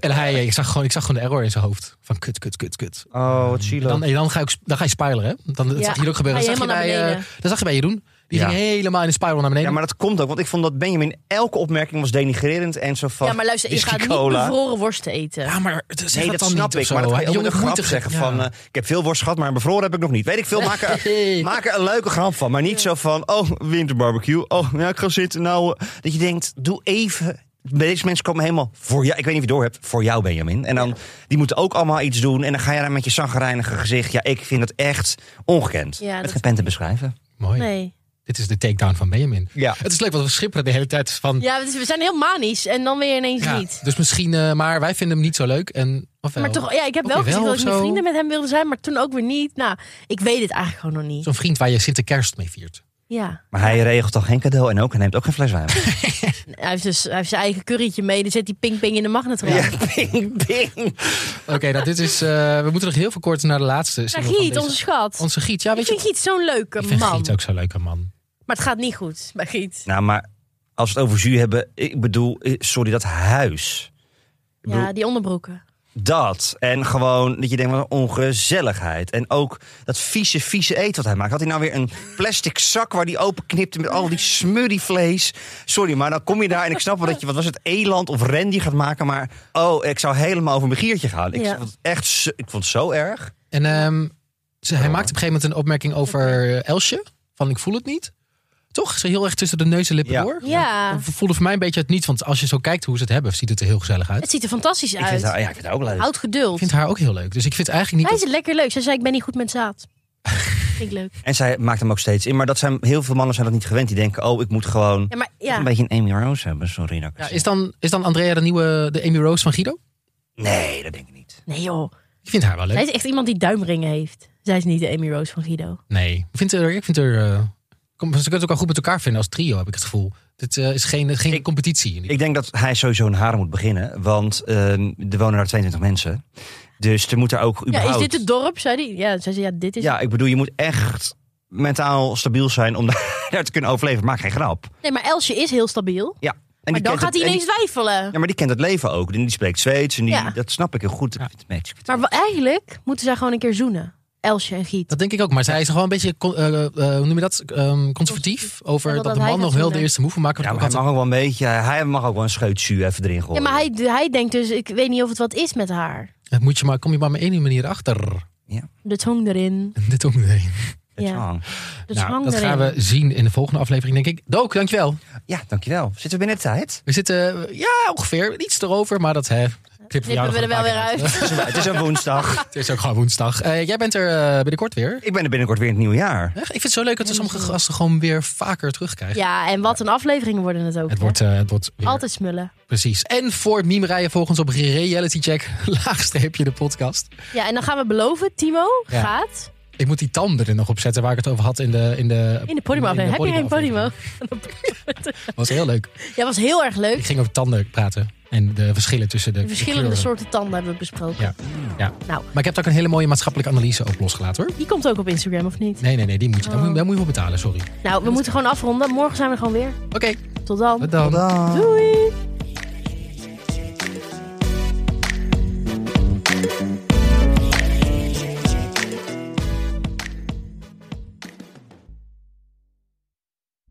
Speaker 1: En hij, ik zag, gewoon, ik zag gewoon de error in zijn hoofd. Van kut, kut, kut, kut.
Speaker 3: Oh, wat
Speaker 1: En
Speaker 3: zielig.
Speaker 1: dan, en dan, ga, ik, dan ga je spiralen, hè? Dan, dat
Speaker 2: Ja,
Speaker 1: zag je hier ook gebeuren.
Speaker 2: ga
Speaker 1: Dat
Speaker 2: je
Speaker 1: zag je,
Speaker 2: helemaal
Speaker 1: bij,
Speaker 2: naar
Speaker 1: eh,
Speaker 2: beneden.
Speaker 1: dat zag je bij Jeroen. Die
Speaker 3: Ja.
Speaker 1: ging helemaal in de spiral naar beneden.
Speaker 3: Ja, maar dat komt ook, want ik vond dat Benjamin elke opmerking was denigrerend en zo van...
Speaker 2: Ja, maar luister, je
Speaker 3: whisky
Speaker 2: gaat niet
Speaker 3: cola.
Speaker 2: bevroren worsten eten.
Speaker 1: Ja, maar het- zeg
Speaker 3: Nee,
Speaker 1: het
Speaker 3: dat
Speaker 1: dan
Speaker 3: snap
Speaker 1: niet of
Speaker 3: ik,
Speaker 1: zo,
Speaker 3: maar dat
Speaker 1: hè?
Speaker 3: kan je
Speaker 1: Die
Speaker 3: ook met een
Speaker 1: jongen moet
Speaker 3: grap
Speaker 1: er-
Speaker 3: zeggen
Speaker 1: ja.
Speaker 3: van... eh, ik heb veel worst gehad, maar een bevroren heb ik nog niet. Weet ik veel, maak er,
Speaker 1: Nee.
Speaker 3: maak er een leuke grap van. Maar niet zo van, oh, winterbarbecue. Oh, ja, ik ga zitten. Nou, eh, dat je denkt, doe even... Deze mensen komen helemaal voor jou. Ik weet niet of je het door hebt. Voor jou, Benjamin. En dan, die moeten ook allemaal iets doen. En dan ga je daar met je zagrijnige gezicht. Ja, ik vind het echt ongekend.
Speaker 2: Ja,
Speaker 3: met
Speaker 2: dat-
Speaker 3: geen pen te beschrijven.
Speaker 1: Mooi.
Speaker 2: Nee.
Speaker 1: Dit is de takedown van Benjamin.
Speaker 3: Ja.
Speaker 1: Het is leuk, want we schipperen de hele tijd van...
Speaker 2: Ja, het is- we zijn heel manisch en dan weer ineens
Speaker 1: ja,
Speaker 2: niet.
Speaker 1: Dus misschien, eh, maar wij vinden hem niet zo leuk. En, of wel.
Speaker 2: Maar toch, ja, ik heb
Speaker 1: Ook
Speaker 2: wel
Speaker 1: weer
Speaker 2: gezegd
Speaker 1: wel
Speaker 2: dat ik
Speaker 1: of
Speaker 2: niet
Speaker 1: zo.
Speaker 2: vrienden met hem wilde zijn, maar toen ook weer niet. Nou, ik weet het eigenlijk gewoon nog niet.
Speaker 1: Zo'n vriend waar je Sinterkerst mee viert.
Speaker 2: Ja.
Speaker 3: Maar hij regelt al geen cadeau en ook, hij neemt ook geen fles wijn.
Speaker 2: Hij heeft, dus, hij heeft zijn eigen currytje mee, dan zet hij ping-ping in de magnetron.
Speaker 3: ja, ping, ping.
Speaker 1: Oké, nou dit is... eh, we moeten nog heel veel kort naar de laatste.
Speaker 2: Maar
Speaker 1: single van
Speaker 2: Giet,
Speaker 1: deze-
Speaker 2: onze schat.
Speaker 1: Onze Giet, ja,
Speaker 2: ik
Speaker 1: weet
Speaker 2: vind
Speaker 1: je...
Speaker 2: Giet zo'n leuke
Speaker 1: Ik vind
Speaker 2: man.
Speaker 1: Giet ook zo'n leuke man.
Speaker 2: Maar het gaat niet goed bij Giet.
Speaker 3: Nou, maar als we het over zuur hebben, ik bedoel, eh, sorry, dat huis. Ik bedoel,
Speaker 2: Ja, die onderbroeken.
Speaker 3: Dat. En gewoon dat je denkt, wat een ongezelligheid. En ook dat vieze, vieze eten wat hij maakt. Had hij nou weer een plastic zak waar die open knipte met al die smurrie vlees. Sorry, maar dan kom je daar en ik snap wel dat je, wat was het, eland of rendier gaat maken. Maar oh, ik zou helemaal over mijn giertje gaan. Ik,
Speaker 2: Ja.
Speaker 3: vond, het echt, zo- ik vond het zo erg.
Speaker 1: En ehm, ze, hij
Speaker 3: Ja.
Speaker 1: maakt op een gegeven moment een opmerking over Elsje. Van ik voel het niet. Toch? Ze heel erg tussen de neus en lippen
Speaker 3: Ja.
Speaker 1: door.
Speaker 2: Ja,
Speaker 1: Dat voelde voor mij een beetje het niet. Want als je zo kijkt hoe ze het hebben, ziet het er heel gezellig uit.
Speaker 2: het ziet er fantastisch
Speaker 3: Ik vind,
Speaker 2: uit.
Speaker 3: het, ja, ik vind het ook leuk.
Speaker 2: Houd
Speaker 1: Ik
Speaker 2: geduld.
Speaker 1: vind haar ook heel leuk. Dus ik vind eigenlijk
Speaker 2: Hij
Speaker 1: niet...
Speaker 2: is lekker leuk. Zij zei, ik ben niet goed met zaad. Vind ik leuk.
Speaker 3: En zij maakt hem ook steeds in. Maar dat zijn, heel veel mannen zijn dat niet gewend. Die denken, oh, ik moet gewoon
Speaker 2: Ja, maar ja.
Speaker 3: een beetje een Amy Rose hebben. Sorry, dat ik
Speaker 1: dat-
Speaker 3: het
Speaker 1: Ja, is, dan, is dan Andrea de nieuwe de Amy Rose van Guido?
Speaker 3: zeg. Nee, dat denk ik niet.
Speaker 2: Nee joh.
Speaker 1: Ik vind haar wel
Speaker 2: Zij
Speaker 1: leuk.
Speaker 2: is echt iemand die duimringen heeft. Zij is niet de Amy Rose van Guido.
Speaker 1: Nee. Ik vind haar... Ik vind haar eh, kom- ze kunnen het ook wel goed met elkaar vinden als trio, heb ik het gevoel. Dit eh, is geen, geen
Speaker 3: Ik-
Speaker 1: competitie.
Speaker 3: Ik denk dat hij sowieso een haren moet beginnen. Want ehm, er wonen daar 22 mensen. Dus er moet daar ook
Speaker 2: Ja,
Speaker 3: überhaupt...
Speaker 2: is dit het dorp? Zei die? Ja, zij zei, ja, dit is
Speaker 3: Ja, ik bedoel, je moet echt mentaal stabiel zijn om daar te kunnen overleven. Maak geen grap. En
Speaker 2: Nee, maar Elsje is heel stabiel.
Speaker 3: Ja. die
Speaker 2: maar dan
Speaker 3: kent
Speaker 2: gaat hij
Speaker 3: het- en die-
Speaker 2: ineens twijfelen.
Speaker 3: Ja, maar die kent het leven ook. En die spreekt Zweeds. En die,
Speaker 2: Ja.
Speaker 3: dat snap ik heel goed. Ik
Speaker 1: Ja.
Speaker 3: vind het match. Ik vind het
Speaker 2: Maar wa- eigenlijk moeten zij gewoon een keer zoenen. Elsje en Giet.
Speaker 1: Dat denk ik ook. Maar zij is gewoon een beetje, con- eh, eh, hoe noem je dat, Ehm, conservatief. Over
Speaker 2: Ja,
Speaker 1: dat,
Speaker 2: dat
Speaker 1: de
Speaker 2: hij
Speaker 1: man
Speaker 2: gaat
Speaker 1: nog heel de
Speaker 2: doen.
Speaker 1: eerste move moet maken.
Speaker 3: Ja,
Speaker 1: Want
Speaker 3: maar
Speaker 1: ik
Speaker 3: hij
Speaker 1: had-
Speaker 3: mag ook wel een beetje... Hij mag ook wel een scheut zuur even erin
Speaker 2: Ja,
Speaker 3: gooien.
Speaker 2: maar hij, hij denkt dus, ik weet niet of het wat is met haar.
Speaker 1: dat moet je maar, kom je maar op één manier achter.
Speaker 2: De tong erin.
Speaker 1: Dit ook nee.
Speaker 3: Het
Speaker 2: Ja,
Speaker 3: hang.
Speaker 2: de
Speaker 1: Nou,
Speaker 2: tong
Speaker 1: dat
Speaker 2: erin.
Speaker 1: gaan we zien in de volgende aflevering, denk ik. Dook, dankjewel.
Speaker 3: ja, dankjewel. Zitten we binnen de tijd?
Speaker 1: We zitten, eh, ja, ongeveer iets erover, maar dat hè, knippen
Speaker 2: Knippen we er wel weer uit.
Speaker 3: Het is een- het is een woensdag.
Speaker 1: Het is ook gewoon woensdag. Eh, jij bent er eh, binnenkort weer.
Speaker 3: Ik ben er binnenkort weer in het nieuwe jaar.
Speaker 1: Hè? Ik vind het zo leuk dat we sommige gasten gewoon weer vaker terugkrijgen.
Speaker 2: Ja, en wat een afleveringen worden het ook.
Speaker 1: Het
Speaker 2: hè?
Speaker 1: wordt, eh, het wordt weer-
Speaker 2: Altijd smullen.
Speaker 1: precies. En voor meme volgens op Reality Check, laagstreepje de podcast.
Speaker 2: Ja, en dan gaan we beloven, Timo
Speaker 1: Ja.
Speaker 2: gaat
Speaker 1: Ik moet die tanden er nog op zetten waar ik het over had in de... In de,
Speaker 2: in de Podimo
Speaker 1: in de
Speaker 2: aflevering. Heb je geen Podimo?
Speaker 1: Podimo-aflevering. was heel leuk.
Speaker 2: Ja, was heel erg leuk.
Speaker 1: Ik ging over tanden praten en de verschillen tussen de,
Speaker 2: De verschillende
Speaker 1: kleuren.
Speaker 2: soorten tanden hebben we besproken.
Speaker 1: Ja. Ja.
Speaker 2: Nou,
Speaker 1: Maar ik heb daar ook een hele mooie maatschappelijke analyse op losgelaten hoor.
Speaker 2: die komt ook op Instagram, of niet?
Speaker 1: Nee, nee, nee, die moet je, daar, moet, je- daar moet je voor betalen, sorry.
Speaker 2: Nou, we moeten gewoon afronden. Morgen zijn we er gewoon weer.
Speaker 1: Oké,
Speaker 2: Tot dan.
Speaker 1: tot dan.
Speaker 3: Dag.
Speaker 2: Doei!